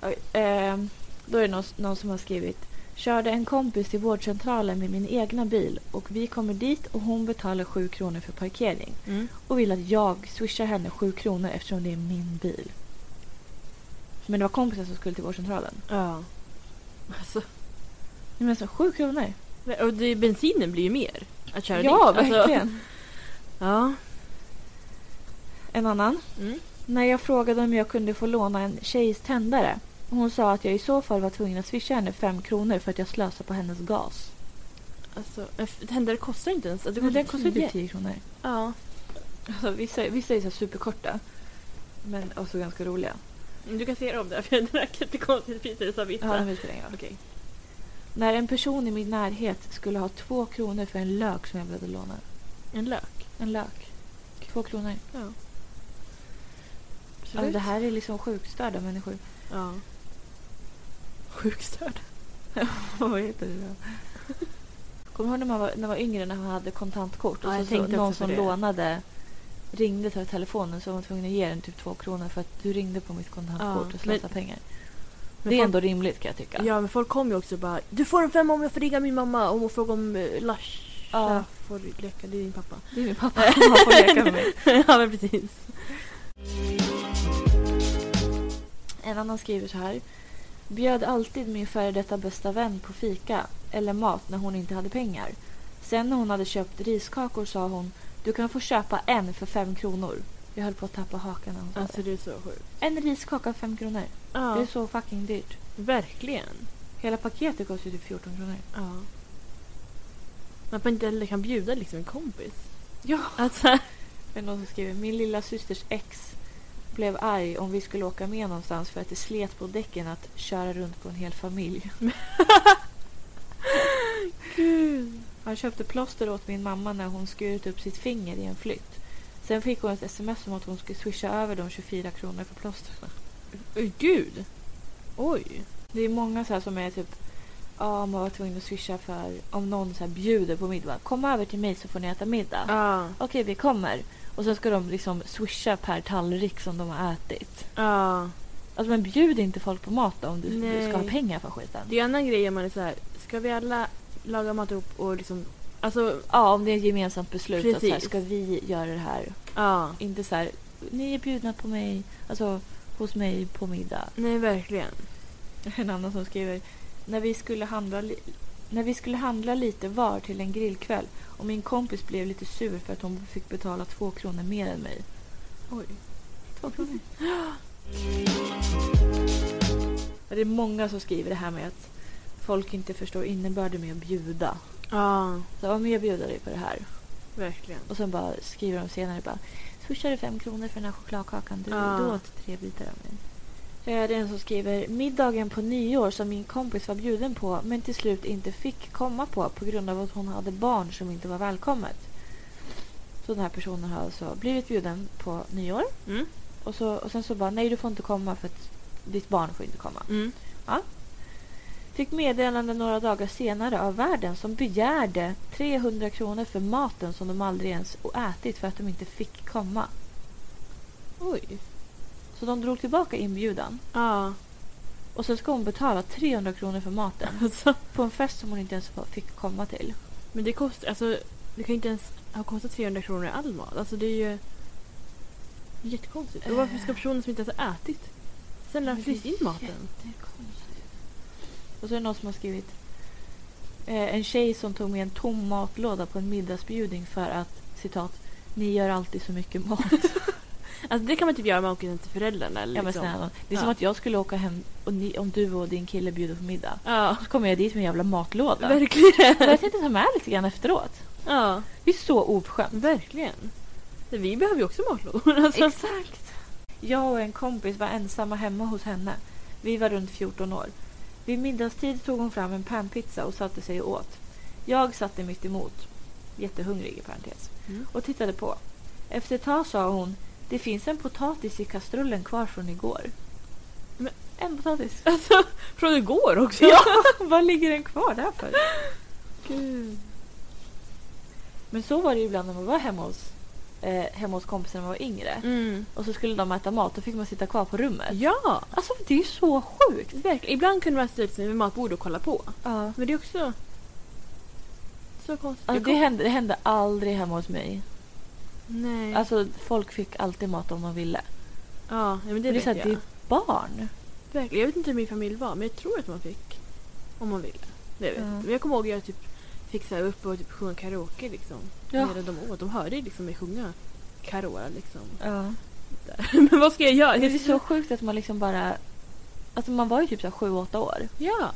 S1: Oj, ehm, då är det någon, någon som har skrivit Körde en kompis till vårdcentralen med min egna bil och vi kommer dit och hon betalar 7 kronor för parkering
S2: Mm.
S1: och vill att jag swishar henne 7 kronor eftersom det är min bil. Men det var kompisen som skulle till vårdcentralen.
S2: Ja. Alltså,
S1: Nej, Men så 7 kronor?
S2: och det, bensinen blir ju mer att köra
S1: Ja,
S2: dit. Alltså,
S1: verkligen.
S2: ja.
S1: En annan.
S2: Mm.
S1: När jag frågade om jag kunde få låna en tjejs tändare. Hon sa att jag i så fall var tvungen att swisha henne 5 kronor för att jag slösade på hennes gas.
S2: Alltså, en f- tändare kostar inte ens. Alltså,
S1: Men den
S2: kostar
S1: kostade
S2: tio.
S1: typ 10 kronor.
S2: Ja.
S1: Alltså, vissa, vissa är så här superkorta. Men också ganska roliga.
S2: Men Du kan se om det här, för jag drack jättekonstigt vin när du sa
S1: Ja, den
S2: vissa.
S1: vill spela ingen roll.
S2: Okej.
S1: När en person i min närhet skulle ha 2 kronor för en lök som jag behövde låna.
S2: En lök.
S1: En lök. 2 kronor.
S2: Ja.
S1: Alltså, det här är liksom sjukstörda människor.
S2: Ja. Sjukstörd.
S1: Vad heter det då? Kommer du ihåg när man, var, när man var yngre när man hade kontantkort? Och
S2: Ja, jag
S1: så, så
S2: tänkte
S1: någon
S2: också på
S1: som
S2: det.
S1: lånade ringde till telefonen så var man tvungen att ge den typ två kronor för att du ringde på mitt kontantkort
S2: Ja,
S1: och slösade
S2: men-
S1: pengar.
S2: men
S1: det är
S2: folk-
S1: ändå rimligt kan jag tycka.
S2: Ja men folk kom ju också och bara Du får en femma om jag får ringa min mamma om och fråga om eh, Lars
S1: Ja.
S2: får leka, det är din pappa.
S1: Det är min pappa som får leka med mig.
S2: ja men precis.
S1: En annan skriver så här. Bjöd alltid min före detta bästa vän på fika eller mat när hon inte hade pengar. Sen när hon hade köpt riskakor sa hon du kan få köpa en för fem kronor. Jag höll på att tappa hakan när hon sa det.
S2: Alltså det är så sjukt.
S1: En riskaka för fem kronor.
S2: Ja,
S1: Det är så fucking dyrt.
S2: verkligen.
S1: Hela paketet kostar ju typ 14 kronor.
S2: Ja. Att man inte heller kan bjuda liksom en kompis.
S1: Ja.
S2: Alltså,
S1: Det är någon som skriver min lilla systers ex blev arg om vi skulle åka med någonstans för att det slet på däcken att köra runt på en hel familj.
S2: gud.
S1: Han köpte plåster åt min mamma när hon skurit upp sitt finger i en flytt. Sen fick hon ett sms om att hon skulle swisha över de 24 kronor för plåsterna.
S2: Oj, gud. Oj.
S1: Det är många så här som är typ Ja, man var tvungen att swisha för om någon så här bjuder på middag. Kom över till mig så får ni äta middag.
S2: Ja.
S1: Okej, vi kommer. Och sen ska de liksom swisha per tallrik som de har ätit.
S2: Ja.
S1: Alltså men bjud inte folk på mat då, om du, du
S2: Nej.
S1: ska ha pengar för skiten.
S2: Det är en annan grej om man är så här. ska vi alla laga mat ihop och liksom, alltså,
S1: Ja, om det är ett gemensamt beslut att så här,
S2: Precis.
S1: ska vi göra det här.
S2: ja.
S1: Inte så här, ni är bjudna på mig, alltså hos mig på middag.
S2: Nej verkligen.
S1: En annan som skriver, när vi skulle handla, li- när vi skulle handla lite var till en grillkväll och min kompis blev lite sur för att hon fick betala två kronor mer än mig.
S2: Oj.
S1: Två kronor. Ja, Det är många som skriver det här med att folk inte förstår innebörden med att bjuda.
S2: Ja,
S1: Så om jag bjuder dig på det här
S2: verkligen.
S1: och sen bara skriver de senare bara swishar du fem kronor för den här chokladkakan? Du,
S2: Ja.
S1: du åt tre bitar av mig. Eh, Det är en som skriver middagen på nyår som min kompis var bjuden på men till slut inte fick komma på på grund av att hon hade barn som inte var välkommet. Så den här personen har alltså blivit bjuden på nyår
S2: Mm.
S1: och, så, och sen så bara nej du får inte komma för att ditt barn får inte komma.
S2: Mm.
S1: Fick meddelande några dagar senare av värden som begärde 300 kronor för maten som de aldrig ens ätit för att de inte fick komma.
S2: Oj.
S1: Så de drog tillbaka inbjudan
S2: Ja.
S1: och sen ska hon betala 300 kronor för maten
S2: Alltså.
S1: på en fest som hon inte ens fick komma till.
S2: Men det kostar, alltså det kan inte ens ha kostat 300 kronor i all mat. Alltså det är ju det är jättekonstigt. Och varför ska personer som inte ens har ätit sen lära
S1: Men det är
S2: frysa in maten?
S1: Jättekonstigt. Och så är det någon som har skrivit eh, en tjej som tog med en tom matlåda på en middagsbjudning för att citat ni gör alltid så mycket mat.
S2: Alltså det kan man typ göra om man åker hem till föräldrarna. Eller
S1: Ja, men
S2: liksom.
S1: snälla, det är
S2: Ja.
S1: som att jag skulle åka hem och ni, om du och din kille bjuder på middag.
S2: Ja,
S1: Så kommer jag dit med en jävla matlåda. Men
S2: verkligen.
S1: jag tänkte ta med lite grann efteråt.
S2: Ja,
S1: Det är så oförskämt.
S2: verkligen. Vi behöver ju också matlådor. Alltså.
S1: Exakt. Jag och en kompis var ensamma hemma hos henne. Vi var runt 14 år. Vid middagstid tog hon fram en panpizza och satte sig och åt. Jag satte mitt emot. Jättehungrig i parentes.
S2: Mm.
S1: Och tittade på. Efter ett tag sa hon Det finns en potatis i kastrullen kvar från igår.
S2: Men-
S1: en potatis.
S2: Alltså, från igår också.
S1: Ja, vad ligger den kvar där för? Men så var det ju ibland när man var hemma hos eh, hemma hos kompisar när man var yngre.
S2: Mm.
S1: Och så skulle de äta mat, då fick man sitta kvar på rummet.
S2: Ja!
S1: Alltså det är ju så sjukt!
S2: Verkligen. Ibland kunde man ställa sig vid matbordet och kolla på.
S1: Ja.
S2: Men det är också... Så konstigt.
S1: Alltså, det,
S2: Jag kom-
S1: hände, det hände aldrig hemma hos mig.
S2: Nej.
S1: Alltså folk fick alltid mat om man ville.
S2: ja, ja, men
S1: Det,
S2: det,
S1: det, är
S2: vet
S1: så
S2: jag.
S1: här, det är barn.
S2: Verkligen. Jag vet inte hur min familj var, men jag tror att man fick om man ville. Det vet jag
S1: Ja.
S2: inte. Men jag kommer ihåg att jag typ fick så här upp och typ sjunga karaoke liksom.
S1: Ja.
S2: Medan de åt. De hörde ju liksom mig sjunga Carola liksom.
S1: Ja.
S2: men vad ska jag göra?
S1: Det är så sjukt att man liksom bara... Alltså man var ju typ 7-8 år
S2: Ja.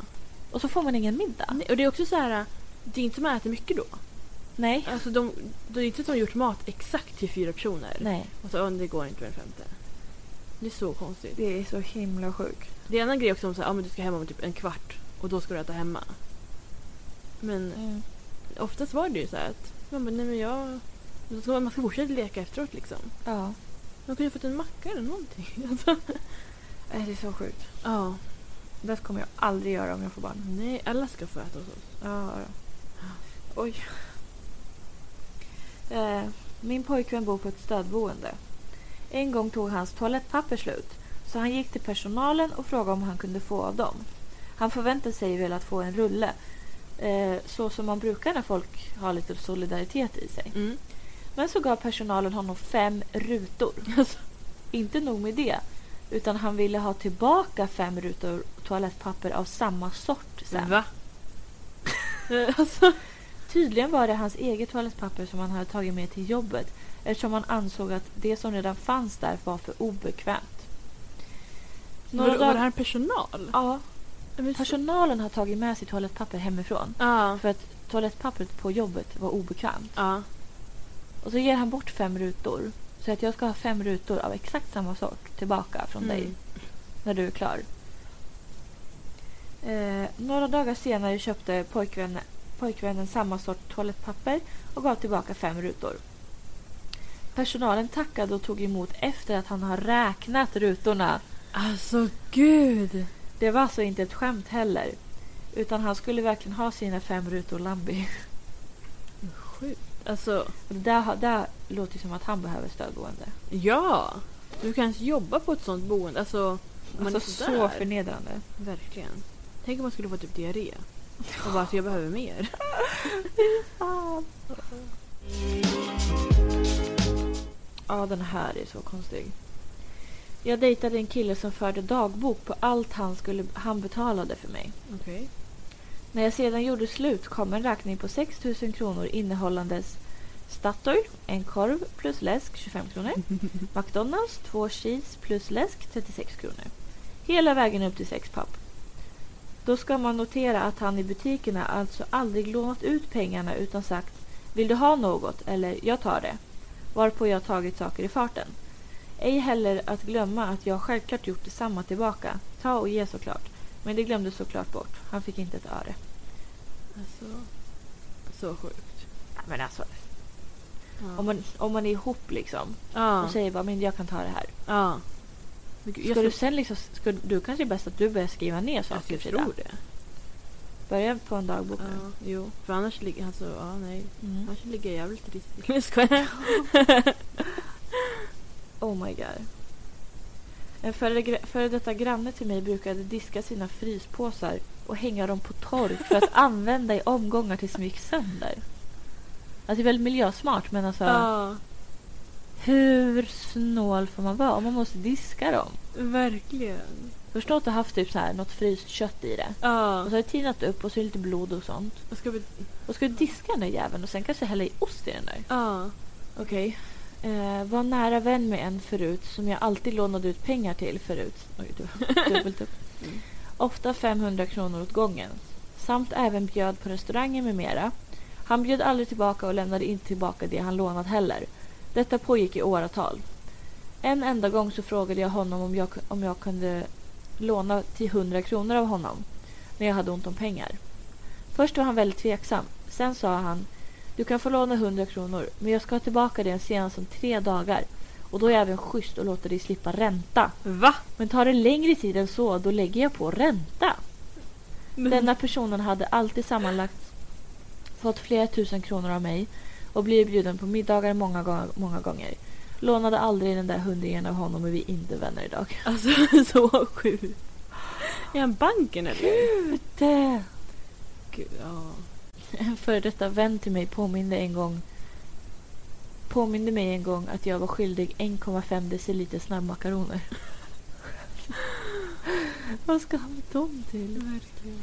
S1: och så får man ingen middag.
S2: Nej, Och det är också så här, det är inte som att man äter mycket då.
S1: Nej.
S2: Alltså de, det är inte att de har gjort mat exakt till fyra personer.
S1: Nej.
S2: Och så, "Åh, det går inte med den femte. Det är så konstigt.
S1: Det är så himla sjukt.
S2: Det är en annan grej också om så här, ah, men du ska hem om typ en kvart och då ska du äta hemma. Men
S1: Mm.
S2: oftast var det ju så här att man bara, nej men jag... Man ska, man ska fortsätta leka efteråt liksom.
S1: Ja.
S2: Man kunde ju fått en macka eller någonting. Alltså.
S1: Äh, Det är så sjukt.
S2: Ja.
S1: Det kommer jag aldrig göra om jag får barn.
S2: Nej, alla ska få äta hos oss.
S1: Ja. Oj. Eh, Min pojkvän bor på ett stödboende. En gång tog hans toalettpapper slut så han gick till personalen och frågade om han kunde få av dem. Han förväntade sig väl att få en rulle eh, så som man brukar när folk har lite solidaritet i sig.
S2: Mm.
S1: Men så gav personalen honom fem rutor.
S2: Alltså.
S1: Inte nog med det utan han ville ha tillbaka fem rutor toalettpapper av samma sort sen.
S2: Va? alltså.
S1: Tydligen var det hans eget toalettpapper som han hade tagit med till jobbet eftersom han ansåg att det som redan fanns där var för obekvämt. Några
S2: Var, var det
S1: dagar-
S2: här personal?
S1: Ja,
S2: Men så-
S1: personalen har tagit med sig toalettpapper hemifrån
S2: Ja.
S1: för att toalettpappret på jobbet var obekvämt.
S2: Ja.
S1: Och så ger han bort fem rutor. Så att jag ska ha fem rutor av exakt samma sort tillbaka från dig
S2: Mm.
S1: när du är klar. Eh, några dagar senare köpte pojkvännen, pojkvännen samma sort toalettpapper och gav tillbaka fem rutor. Personalen tackade och tog emot efter att han har räknat rutorna.
S2: Alltså gud.
S1: Det var alltså inte ett skämt heller. Utan han skulle verkligen ha sina fem rutor Lambi.
S2: Sjukt. Alltså.
S1: Och Det där, har- där låter ju som att han behöver stödboende.
S2: Ja! Du kan ens jobba på ett sånt boende. Alltså, om man
S1: Alltså
S2: är
S1: så
S2: sådär.
S1: förnedrande.
S2: Verkligen. Tänk om man skulle få typ diarré. Och bara, alltså, jag behöver mer.
S1: Ja, den här är så konstig. Jag dejtade en kille som förde dagbok på allt han, skulle, han betalade för mig.
S2: Okej.
S1: När jag sedan gjorde slut kom en räkning på 6 000 kronor innehållandes Statoil, en korv plus läsk 25 kronor. McDonalds, två cheese plus läsk 36 kronor. Hela vägen upp till 6 papp. Då ska man notera att han i butikerna alltså aldrig lånat ut pengarna utan sagt Vill du ha något? eller Jag tar det. Varpå jag tagit saker i farten. Ej heller att glömma att jag självklart gjort detsamma tillbaka. Ta och ge såklart. Men det glömde såklart bort. Han fick inte ett öre.
S2: Alltså. Så sjukt.
S1: Men alltså,
S2: Ja.
S1: om man, om man är ihop liksom
S2: ja.
S1: och säger bara men jag kan ta det här.
S2: ja. Men gud,
S1: Ska
S2: jag
S1: du sen liksom, ska, du kanske är bäst att du börjar skriva ner
S2: Alltså,
S1: saker
S2: jag
S1: Frida.
S2: tror det.
S1: Börja på en dagbok nu.
S2: Ja, jo. För annars ligger... Alltså, ja, nej.
S1: Mm.
S2: Annars ligger jag jävligt risigt. Nej, jag skojar.
S1: Oh my god. En före, gra- före detta granne till mig brukade diska sina fryspåsar och hänga dem på tork för att använda i omgångar tills de gick sönder. Alltså det är väldigt miljösmart men alltså
S2: Ja.
S1: hur snål får man vara om man måste diska dem?
S2: Verkligen.
S1: Förstå att du haft typ så här något fryst kött i det. Och
S2: Ja.
S1: så har det tinat upp och så är det lite blod och sånt.
S2: Jag ska... be-
S1: Och ska du diska den där jäveln och sen kanske hälla i ost i den där?
S2: Ja.
S1: Okej. Eh, var nära vän med en förut som jag alltid lånade ut pengar till förut. Oj, du, dubbelt upp.
S2: Mm.
S1: Ofta 500 kronor åt gången. Samt även bjöd på restauranger med mera. Han bjöd aldrig tillbaka och lämnade inte tillbaka det han lånat heller. Detta pågick i åratal. En enda gång så frågade jag honom om jag, om jag kunde låna till 100 kronor av honom när jag hade ont om pengar. Först var han väldigt tveksam. Sen sa han du kan få låna 100 kronor men jag ska ha tillbaka det senast om tre dagar. Och då är jag även schysst och låter dig slippa ränta.
S2: Va?
S1: Men tar det längre tid än så då lägger jag på ränta.
S2: Mm.
S1: Denna personen hade alltid sammanlagt fått flera tusen kronor av mig och blir bjuden på middagar många, gånger- många gånger. Lånade aldrig den där hundringen av honom och vi är inte vänner idag.
S2: Alltså så sjukt. Är han banken eller?
S1: Det
S2: Gud, ja.
S1: En före detta vän till mig påminde en gång påminde mig en gång att jag var skyldig 1,5 deciliter snabbmakaroner. Vad ska han med dem till?
S2: Verkligen.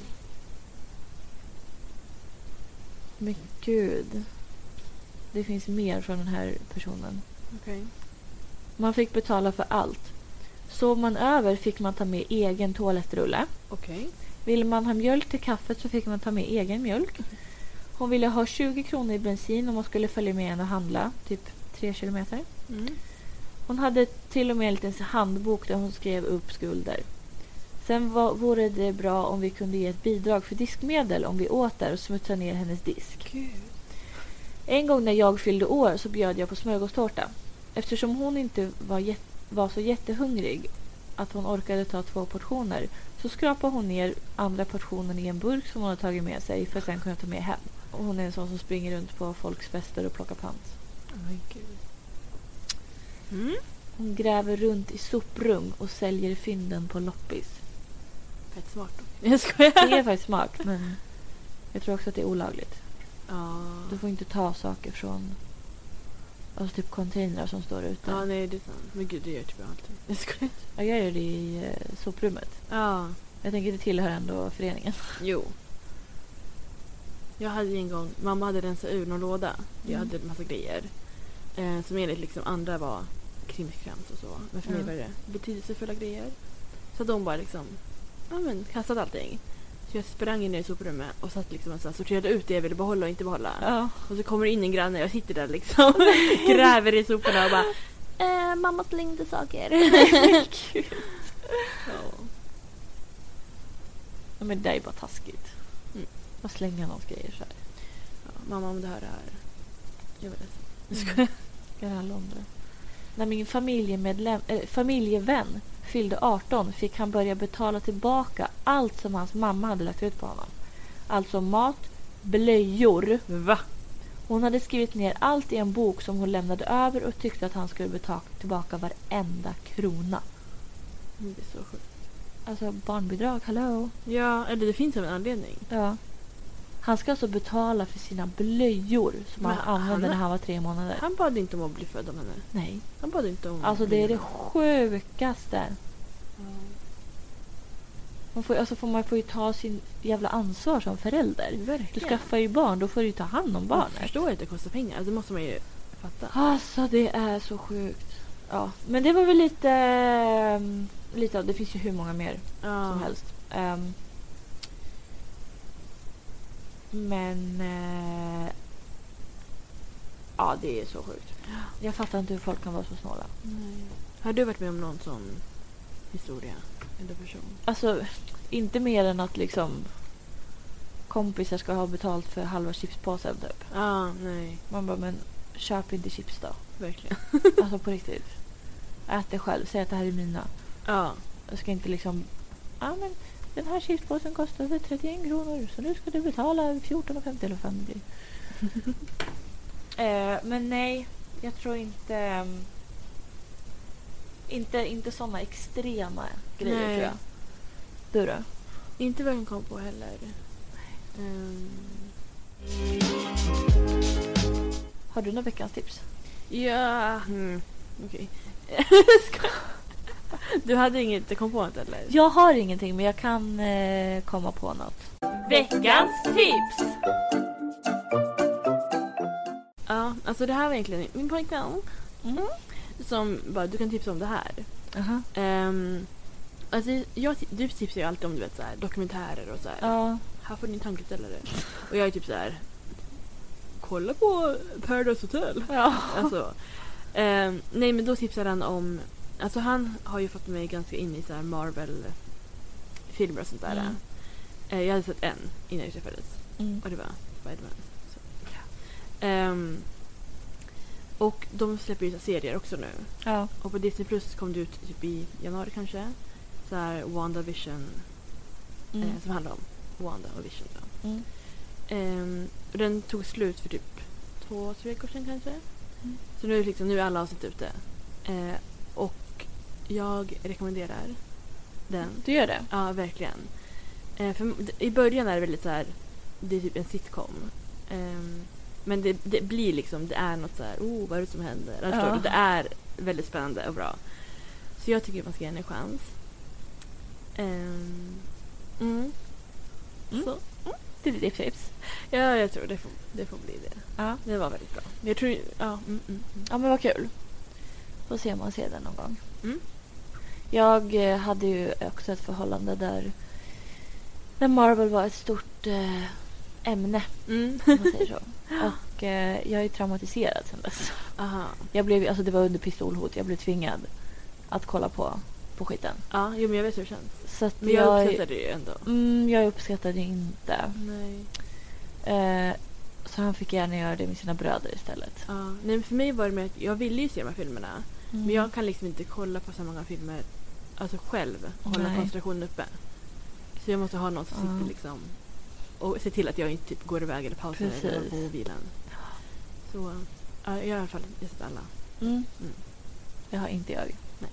S1: Men gud. Det finns mer från den här personen.
S2: Okej.
S1: Man fick betala för allt. Sov man över fick man ta med egen toalettrulle.
S2: Okej.
S1: Ville man ha mjölk till kaffet så fick man ta med egen mjölk. Hon ville ha 20 kronor i bensin om hon skulle följa med henne och handla, typ 3 kilometer.
S2: Mm.
S1: Hon hade till och med en liten handbok där hon skrev upp skulder. Sen var, vore det bra om vi kunde ge ett bidrag för diskmedel om vi åt där och smutsade ner hennes disk.
S2: Gud.
S1: En gång när jag fyllde år så bjöd jag på smörgåstårta. Eftersom hon inte var, jätt, var så jättehungrig att hon orkade ta två portioner så skrapade hon ner andra portionen i en burk som hon hade tagit med sig för att sen kunna ta med hem. Och hon är en sån som springer runt på folks fester och plockar pant.
S2: Oj, gud. Mm.
S1: Hon gräver runt i soprum och säljer fynden på loppis.
S2: Fett smart. då. Jag
S1: Det är
S2: skojar.
S1: faktiskt smart, men jag tror också att det är olagligt.
S2: Ja.
S1: Du får inte ta saker från alltså typ containrar som står ute.
S2: Ja, nej det är sant. Men gud, det gör typ jag alltid. Jag skojar.
S1: Jag gör det i eh, soprummet.
S2: Ja.
S1: Jag tänker det tillhör ändå föreningen.
S2: Jo. Jag hade ju en gång, mamma hade rensat ur någon låda. Jag
S1: Mm.
S2: hade en massa grejer. Eh, som enligt liksom andra var krimskrams och så. Men för mig
S1: Ja.
S2: var det betydelsefulla grejer. Så de bara liksom, ja men kastat allting. Så jag sprang in ner i soprummet och satt liksom och så här, sorterade ut det jag ville behålla och inte behålla.
S1: Ja.
S2: Och så kommer det in en granne och jag sitter där liksom gräver i soporna och bara
S1: Eh, mamma slängde saker.
S2: ja.
S1: ja, men det där är bara taskigt.
S2: Mm.
S1: Att slänga någons grejer så här.
S2: Ja, Mamma om du hör det här. Jag vet.
S1: Gör alla om det. När min familjemedlem, eller familjevän fyllde 18 fick han börja betala tillbaka allt som hans mamma hade lagt ut på honom. Alltså mat, blöjor.
S2: Va?
S1: Hon hade skrivit ner allt i en bok som hon lämnade över och tyckte att han skulle betala tillbaka varenda krona.
S2: Mm, Det är så sjukt.
S1: Alltså barnbidrag, hallå?
S2: Ja, eller det finns av en anledning.
S1: Ja. Han ska alltså betala för sina blöjor som
S2: Men
S1: han använde
S2: han-
S1: när han var tre månader.
S2: Han bad inte om att bli född av henne.
S1: Nej.
S2: Han bad inte om...
S1: Alltså det är det sjukaste. Man får, alltså får man får ju ta sin jävla ansvar som förälder. Du
S2: Verkligen.
S1: skaffar ju barn, då får du ju ta hand om
S2: Jag
S1: barnet.
S2: förstår att det kostar pengar. Alltså, Det måste man ju fatta.
S1: Alltså det är så sjukt. Ja, men det var väl lite... ehm, lite av, det finns ju hur många mer
S2: Ja.
S1: som helst. Ehm, men... eh, ja, det är så sjukt. Jag fattar inte hur folk kan vara så snåla.
S2: Nej. Har du varit med om någon sån historia? Eller person?
S1: Alltså, inte mer än att liksom kompisar ska ha betalt för halva chipspåsen typ.
S2: Ja, nej.
S1: Man bara, men köp inte chips då.
S2: Verkligen.
S1: Alltså på riktigt. Ät det själv, säg att det här är mina.
S2: Ja.
S1: Jag ska inte liksom... Ja, men den här chipspåsen kostar för 31 kronor så nu ska du betala 14,50 eller vad fan det blir. eh, men nej, jag tror inte... ehm, Inte, inte sådana extrema grejer
S2: Nej.
S1: tror jag. Du då?
S2: Inte vad jag kom på heller. Ehm,
S1: Har du några veckans tips?
S2: ja. Mm. Okej. Ska- du hade inget, du kom på något eller?
S1: Jag har ingenting men jag kan eh, komma på något.
S2: Veckans tips! Ja, alltså det här var egentligen min pojkvän
S1: Mm.
S2: som bara, du kan tipsa om det här. Ehm, alltså jag, du tipsar ju alltid om du vet, så här, dokumentärer och så här.
S1: Ja.
S2: Här får ni en tankeställare. Och jag är typ så här. kolla på Paradise Hotel.
S1: ja.
S2: Alltså, ehm, nej men då tipsar han om, alltså han har ju fått mig ganska in i så här Marvel-filmer och sånt där.
S1: Mm.
S2: Eh, jag hade sett en innan vi träffades.
S1: Mm.
S2: Och det var Spiderman. Så. Ehm, och de släpper ju så här serier också nu.
S1: ja.
S2: Och på Disney Plus kom det ut typ i januari kanske. Så här WandaVision
S1: Mm.
S2: eh, som handlar om Wanda och Vision. Då.
S1: Mm.
S2: Ehm, och den tog slut för typ på tre veckor sedan kanske.
S1: Mm.
S2: Så nu, är det liksom, nu är alla avsnitt ute. Eh, och jag rekommenderar den.
S1: Du gör det?
S2: Ja, verkligen. Eh, för m- d- I början är det väldigt så här, det är typ en sitcom. Ehm, men det, det blir liksom, det är något så här, oh vad är det som händer? Ja. Förstår
S1: Ja.
S2: du? Det är väldigt spännande och bra. Så jag tycker man ska ge henne en chans. Ehm, mm.
S1: Mm.
S2: Så.
S1: Det är ditt tips.
S2: Ja, jag tror det får, det får bli det.
S1: Ja.
S2: Det var väldigt bra. Jag tror, ja, mm, mm, mm.
S1: Ja men vad kul. Får se om man ser den någon gång.
S2: Mm.
S1: Jag eh, hade ju också ett förhållande där, där Marvel var ett stort eh, ämne.
S2: Mm.
S1: Om man säger så. Och eh, jag är traumatiserad sen dess.
S2: Aha.
S1: Jag blev, alltså det var under pistolhot. Jag blev tvingad att kolla på, på skiten.
S2: Ja, jo, men jag vet hur det känns.
S1: Så att
S2: Men jag
S1: jag,
S2: uppskattar det ju ändå.
S1: mm, jag uppskattade inte.
S2: Nej.
S1: Eh, så han fick gärna göra det med sina bröder istället.
S2: Ja. Nej, men för mig var det mer att jag ville ju se de här filmerna.
S1: Mm.
S2: Men jag kan liksom inte kolla på så många filmer alltså själv. och Hålla
S1: Nej.
S2: koncentrationen uppe. Så jag måste ha någon som
S1: Ja.
S2: sitter liksom och ser till att jag inte typ går iväg eller pausar eller håller
S1: Precis.
S2: på mobilen. Så ja, jag har i alla fall jag har sett alla.
S1: Mm.
S2: Mm.
S1: Det har inte jag.
S2: Nej.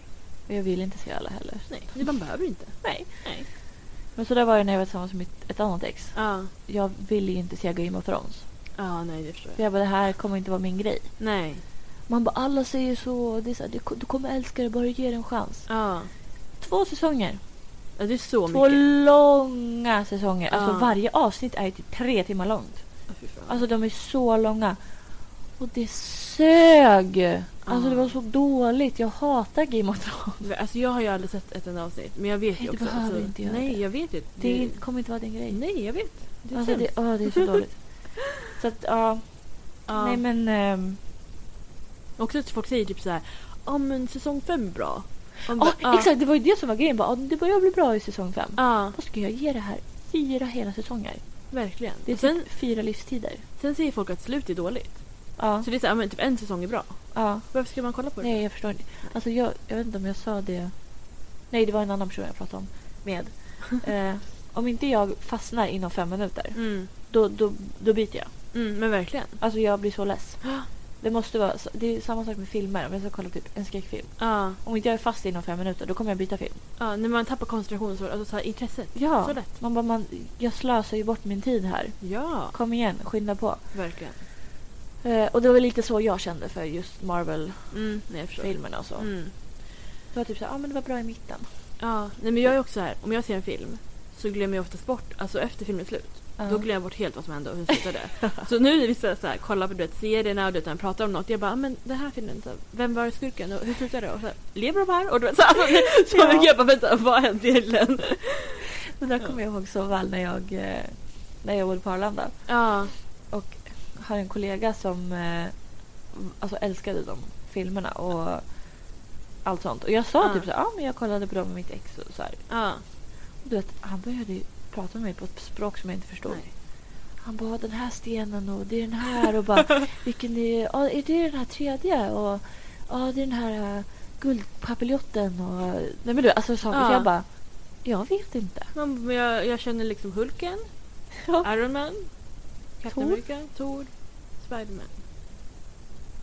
S1: Och jag vill inte se alla heller.
S2: Nej, det- man behöver inte.
S1: Nej.
S2: Nej.
S1: Men så där var jag när jag var tillsammans med mitt- ett annat ex.
S2: Ja,
S1: Jag ville ju inte se Game of Thrones.
S2: ja nej det förstår
S1: För
S2: jag.
S1: jag bara, det här kommer inte vara min grej.
S2: Nej.
S1: Man bara, alla säger så. Det är så här, du, du kommer älska det, bara ge det en chans.
S2: Ja.
S1: Två säsonger.
S2: ja, det är så
S1: Två
S2: mycket.
S1: långa säsonger. Alltså
S2: Ja.
S1: varje avsnitt är ju typ tre timmar långt.
S2: Ja, fy fan.
S1: Alltså de är så långa. Och det sög! Alltså
S2: Ja.
S1: det var så dåligt. Jag hatar Game of Thrones.
S2: Alltså jag har ju aldrig sett ett enda avsnitt. Men jag vet
S1: Nej,
S2: ju
S1: du
S2: också.
S1: behöver
S2: alltså,
S1: inte göra
S2: nej,
S1: det.
S2: jag vet ju.
S1: Det kommer inte vara din grej.
S2: Nej, jag vet. Det är
S1: alltså, det,
S2: sämst.
S1: åh, det är så dåligt. Så att ja,
S2: Ja.
S1: nej men. ehm,
S2: Också att folk säger typ så här. Ja men säsong fem är bra. Och man
S1: ja,
S2: bara, ja.
S1: exakt det var ju det som var grejen. Bara, ah, det börjar bli bra i säsong fem.
S2: Ja,
S1: Vad ska jag ge det här? Fyra hela säsonger.
S2: verkligen.
S1: Det är
S2: Och sen,
S1: typ fyra livstider.
S2: sen säger folk att slut är dåligt.
S1: Ja,
S2: Så det är så här, ja, men typ en säsong är bra.
S1: ja.
S2: Varför ska man kolla på det?
S1: Nej jag förstår inte. Alltså jag, jag vet inte om jag sa det. Nej det var en annan person jag pratade om med. Eh, om inte jag fastnar inom fem minuter
S2: Mm,
S1: då, då, då byter jag.
S2: mm, men verkligen.
S1: Alltså jag blir så less.
S2: Ja.
S1: Det måste vara, så- det är samma sak med filmer. Om jag ska kolla typ en skräckfilm.
S2: Ja,
S1: Om inte jag är fast inom fem minuter då kommer jag byta film.
S2: ja när man tappar koncentrationen så, alltså, så här, intresset.
S1: Ja.
S2: Så lätt.
S1: Man bara, man, jag slösar ju bort min tid här.
S2: Ja,
S1: Kom igen, skynda på.
S2: verkligen.
S1: Eh, och det var väl lite så jag kände för just Marvel-filmerna
S2: Mm, nej, jag förstår.
S1: och så.
S2: Mm.
S1: Det var typ så ja ah, men det var bra i mitten.
S2: Ja, nej, men jag är också så här. Om jag ser en film så glömmer jag oftast bort, alltså efter filmens slut. Då glömmer jag bort helt vad som hände och hur det slutade. så nu är det vissa så här, kollar på du vet, serierna och du vet, när de pratar om något. Jag bara, "Ah, men den här filmen, så här, vem var skurken och hur slutade det? Och så här, lever de här? Och du vet, så här, alltså, det- så
S1: Ja.
S2: mycket jag bara, vänta, vad hände egentligen?
S1: Det där kommer jag ihåg så väl när jag, eh, när jag bodde på Arlanda.
S2: Ja,
S1: Och har en kollega som eh, alltså älskade de filmerna och allt sånt. Och jag sa
S2: Ja.
S1: typ så ja ah, men jag kollade på dem med mitt ex och så här.
S2: ja.
S1: Och du vet, han började ju prata med mig på ett språk som jag inte förstod.
S2: Nej.
S1: Han bara den här stenen och det är den här och bara vilken är, ja, är det den här tredje och ja det är den här uh, guldpapiljotten och nej men du alltså saker
S2: Ja.
S1: så jag bara jag vet inte.
S2: Man, men jag, jag känner liksom Hulken,
S1: Ja.
S2: Iron Man, Captain
S1: Thor.
S2: America, Thor, Spiderman.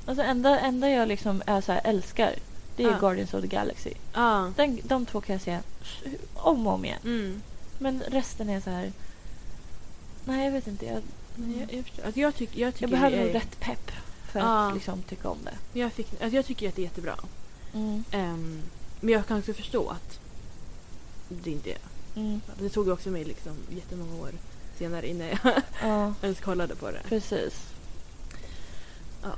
S1: Alltså enda, enda jag liksom är så här älskar det är
S2: Ja.
S1: Guardians of the Galaxy.
S2: Ja.
S1: Den, de två kan jag se s- om och om igen.
S2: Mm.
S1: Men resten är så här nej jag vet inte jag,
S2: Men Jag, jag, förstår. Alltså, jag, tycker, jag, tycker
S1: Mm. jag behöver
S2: jag,
S1: nog rätt pepp för
S2: Ja.
S1: att liksom tycka om det.
S2: Jag, fick, alltså, jag tycker att det är jättebra.
S1: Mm.
S2: Ehm, men jag kan också förstå att det inte är
S1: Mm.
S2: Det tog ju också mig liksom jättemånga år senare innan jag
S1: Ja.
S2: ens kollade på det.
S1: Precis.
S2: Ja.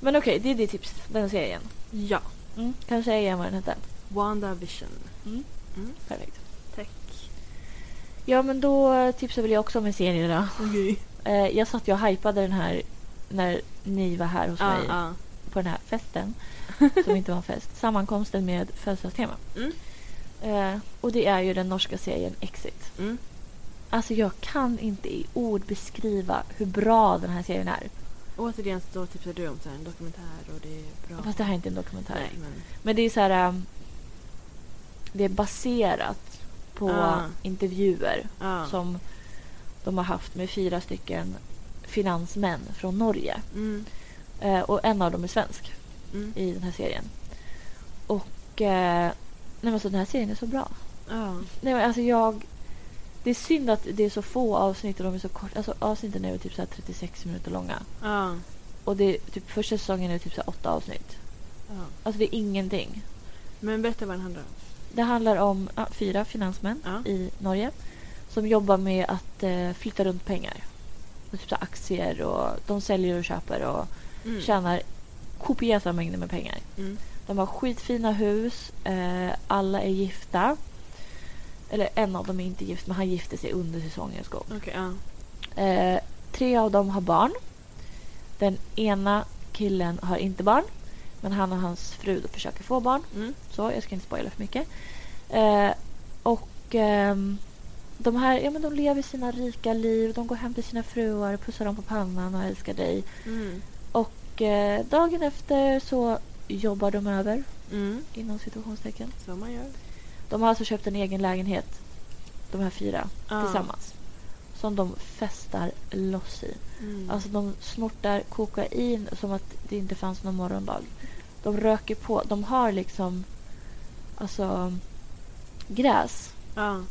S1: Men okej, det är ditt tips. Den serien.
S2: Ja,
S1: Mm. Kan du säga igen vad den hette?
S2: WandaVision.
S1: Perfekt.
S2: Tack.
S1: Ja, men då eh, tipsar väl jag också om en serie då.
S2: Okej.
S1: Eh, jag satt ju och hypade den här när ni var här hos
S2: Ja,
S1: mig
S2: ja.
S1: på den här festen. som inte var en fest. Sammankomsten med födelsedagstema.
S2: Mm.
S1: Eh, och det är ju den norska serien Exit.
S2: Mm.
S1: Alltså jag kan inte i ord beskriva hur bra den här serien är.
S2: Återigen så tipsar du om så här en dokumentär och det är bra.
S1: Fast det här är inte en dokumentär.
S2: Nej, men...
S1: Men det är så här... ähm, Det är baserat på
S2: Ah.
S1: intervjuer
S2: Ja.
S1: som de har haft med fyra stycken finansmän från Norge.
S2: Mm.
S1: Eh, och en av dem är svensk i den här serien. Och eh, nej, men alltså, den här serien är så bra.
S2: Ja.
S1: Nej, men alltså jag... Det är synd att det är så få avsnitt och de är så korta. Alltså, avsnitten är väl typ så här 36 minuter långa.
S2: Ja.
S1: Och det är, typ, första säsongen är typ så här åtta avsnitt.
S2: ja.
S1: Alltså det är ingenting.
S2: Men berätta vad den handlar om.
S1: Det handlar om ja, fyra finansmän
S2: Ja.
S1: i Norge som jobbar med att eh, flytta runt pengar. Och typ så här aktier och de säljer och köper och
S2: Mm.
S1: tjänar kopiösa mängder med pengar.
S2: Mm.
S1: De har skitfina hus, eh, alla är gifta. Eller en av dem är inte gift, men han gifte sig under säsongens gång.
S2: Okej, ja. Mm.
S1: Eh, tre av dem har barn. Den ena killen har inte barn, men han och hans fru då försöker få barn.
S2: Mm.
S1: Så, jag ska inte spoila för mycket. Eh, och ehm, de här, ja men de lever sina rika liv. De går hem till sina fruar, pussar dem på pannan och älskar dig.
S2: Mm.
S1: Och eh, dagen efter så jobbar de över,
S2: Mm.
S1: inom situationstecken.
S2: Så man gör.
S1: De har alltså köpt en egen lägenhet, de här fyra,
S2: Ja.
S1: tillsammans. Som de festar loss i.
S2: Mm.
S1: Alltså de snortar kokain som att det inte fanns någon morgondag. De röker på. De har liksom alltså gräs.
S2: ja.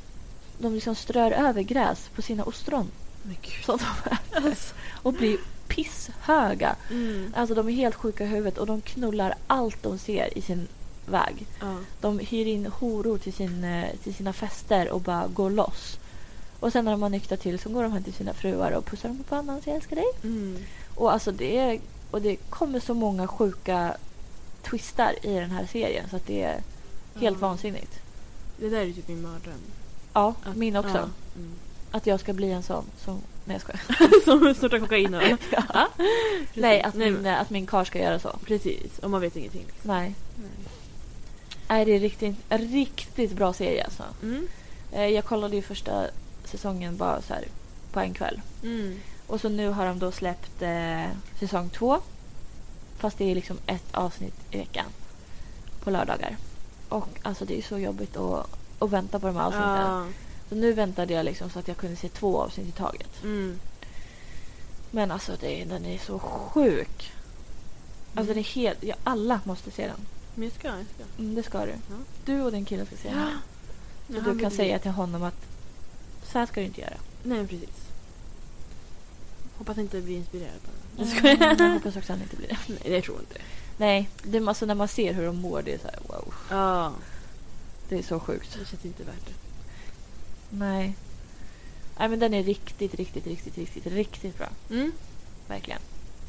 S1: De liksom strör över gräs på sina ostron
S2: Men gud.
S1: som de äter och blir pisshöga.
S2: Alltså. Mm.
S1: Alltså de är helt sjuka i huvudet och de knullar allt de ser i sin väg.
S2: Ja.
S1: De hyr in horor till, sin, eh, till sina fester och bara går loss. Och sen när de har nyktrat till så går de hem till sina fruar och pussar dem på pannan och säger jag älskar dig.
S2: Mm.
S1: Och, alltså det är, och det kommer så många sjuka twistar i den här serien så att det är helt
S2: Ja.
S1: vansinnigt.
S2: Det där är typ min mardröm.
S1: Ja,
S2: Att-
S1: min också.
S2: Ja. Mm.
S1: Att jag ska bli en sån som... Nej jag skojar.
S2: Som snortar kokain och...
S1: Ja. Nej, att
S2: Nej,
S1: min, att min kar ska göra så.
S2: Precis, och man vet ingenting. Liksom.
S1: Nej. Nej, det är riktigt, en riktigt bra serie alltså.
S2: Mm.
S1: Eh, Jag kollade ju första säsongen bara så här på en kväll.
S2: Mm.
S1: Och så nu har de då släppt eh, säsong två. Fast det är liksom ett avsnitt i veckan. På lördagar. Och alltså det är så jobbigt att, att vänta på de här avsnitten.
S2: Ja.
S1: Så nu väntade jag liksom så att jag kunde se två avsnitt i taget.
S2: Mm.
S1: Men alltså det, är- den är så sjuk. Alltså den är helt... Ja, alla måste se den.
S2: Men jag ska, jag ska.
S1: Mm, det ska du.
S2: Ja.
S1: Du och din kille ska se den. här.
S2: Ja,
S1: Och
S2: han
S1: du kan
S2: vill-
S1: säga till honom att så här ska du inte göra.
S2: Nej, men precis. Hoppas inte bli inspirerad bara. Jag ska.
S1: Mm, jag hoppas också att han inte blir det.
S2: Nej, det tror jag inte.
S1: Nej, det, är- alltså när man ser hur de mår det är så här wow.
S2: Ja,
S1: Det är så sjukt.
S2: det känns inte värt det.
S1: Nej. Nej men den är riktigt, riktigt, riktigt, riktigt, riktigt bra.
S2: Mm.
S1: Verkligen.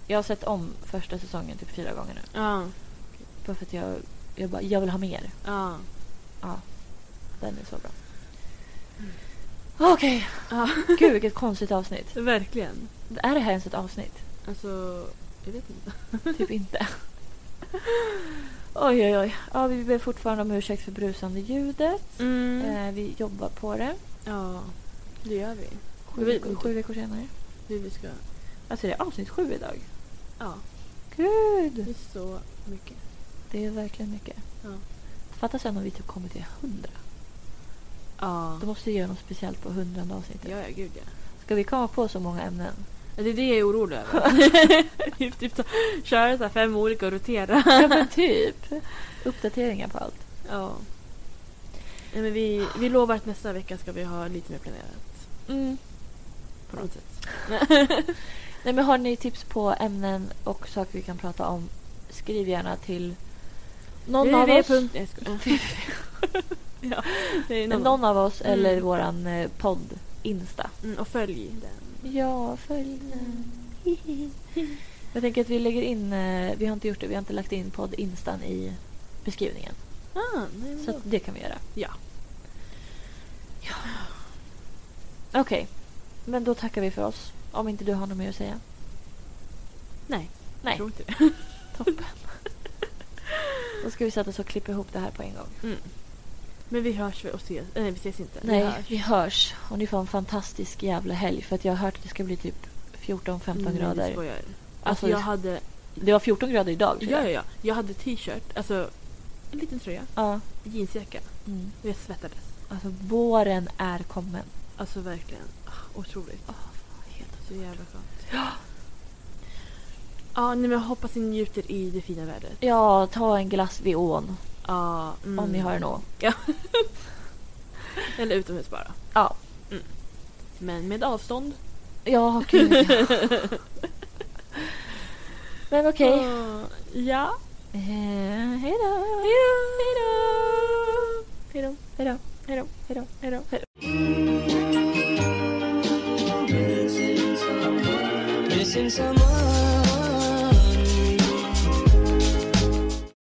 S1: Jag har sett om första säsongen typ fyra gånger nu.
S2: Ja,
S1: Bara för att jag, jag, bara, jag vill ha mer.
S2: ja.
S1: Ja. Den är så bra. Mm. Okej.
S2: Ja.
S1: Gud vilket konstigt avsnitt.
S2: Verkligen.
S1: Är det här ens ett avsnitt?
S2: Alltså, jag vet inte.
S1: Typ inte. Oj, oj, oj. Ja, vi ber fortfarande om ursäkt för brusande ljudet.
S2: Eh,
S1: Eh, vi jobbar på det.
S2: Ja, det gör vi.
S1: Sju,
S2: Vi-
S1: veckor, sju veckor senare.
S2: Vi, vi ska...
S1: Alltså det är avsnitt sju idag.
S2: Ja, det
S1: Gud!
S2: är så mycket.
S1: Det är verkligen mycket.
S2: Ja.
S1: Fatta sen om vi typ kommer till hundra.
S2: Ja.
S1: Då måste vi göra något speciellt på hundrade avsnittet.
S2: Ja, ja, gud ja.
S1: Ska vi komma på så många ämnen?
S2: Ja, Det är det jag är orolig över. typ, typ så, köra så här fem olika och rotera.
S1: ja men typ. Uppdateringar på allt.
S2: Ja. Nej, men vi, vi lovar att nästa vecka ska vi ha lite mer planerat.
S1: Mm.
S2: På något sätt.
S1: Nej men har ni tips på ämnen och saker vi kan prata om? Skriv gärna till någon av oss.
S2: www. Nej, jag skojar. ja, det är någon.
S1: Någon av oss
S2: Mm.
S1: eller våran eh, podd Insta.
S2: Mm, och följ den.
S1: Ja, följ den. Jag tänker att vi lägger in, eh, vi har inte gjort det, vi har inte lagt in podd Instan i beskrivningen.
S2: Ah, nej, men
S1: Så
S2: då.
S1: att det kan vi göra.
S2: Ja.
S1: Okej, men då tackar vi för oss. Om inte du har något mer att säga.
S2: Nej, jag
S1: Nej,
S2: tror inte det.
S1: toppen. då ska vi sätta oss och klippa ihop det här på en gång.
S2: Men vi hörs och ses. eh, Nej, vi ses inte. Vi
S1: Nej,
S2: hörs.
S1: vi hörs. Och ni får en fantastisk jävla helg. För att jag har hört att det ska bli typ 14-15
S2: Nej, jag
S1: grader.
S2: skojar. Alltså,
S1: Alltså,
S2: jag hade...
S1: Det var 14 grader idag. tror
S2: Ja, ja,
S1: jag.
S2: ja. Jag hade t-shirt, alltså en liten tröja,
S1: ja.
S2: jeansjacka
S1: Mm.
S2: och jag svettades.
S1: Alltså våren är kommen.
S2: Alltså verkligen. Ah, Otroligt.
S1: Åh, helt otroligt.
S2: Så jävla skönt. Ja. Ja, nej, men jag hoppas ni njuter i det fina vädret.
S1: Ja, ta en glass vid ån
S2: Ja, mm.
S1: om ni har en å.
S2: Eller utomhus bara.
S1: Ja.
S2: Mm. Men med avstånd.
S1: Ja, gud ja. Men okej.
S2: Ja. Ja.
S1: Eh, hej då! Hej då! Hej då! Hej då! Hej då! Hej då! Hej då!
S3: Missing someone.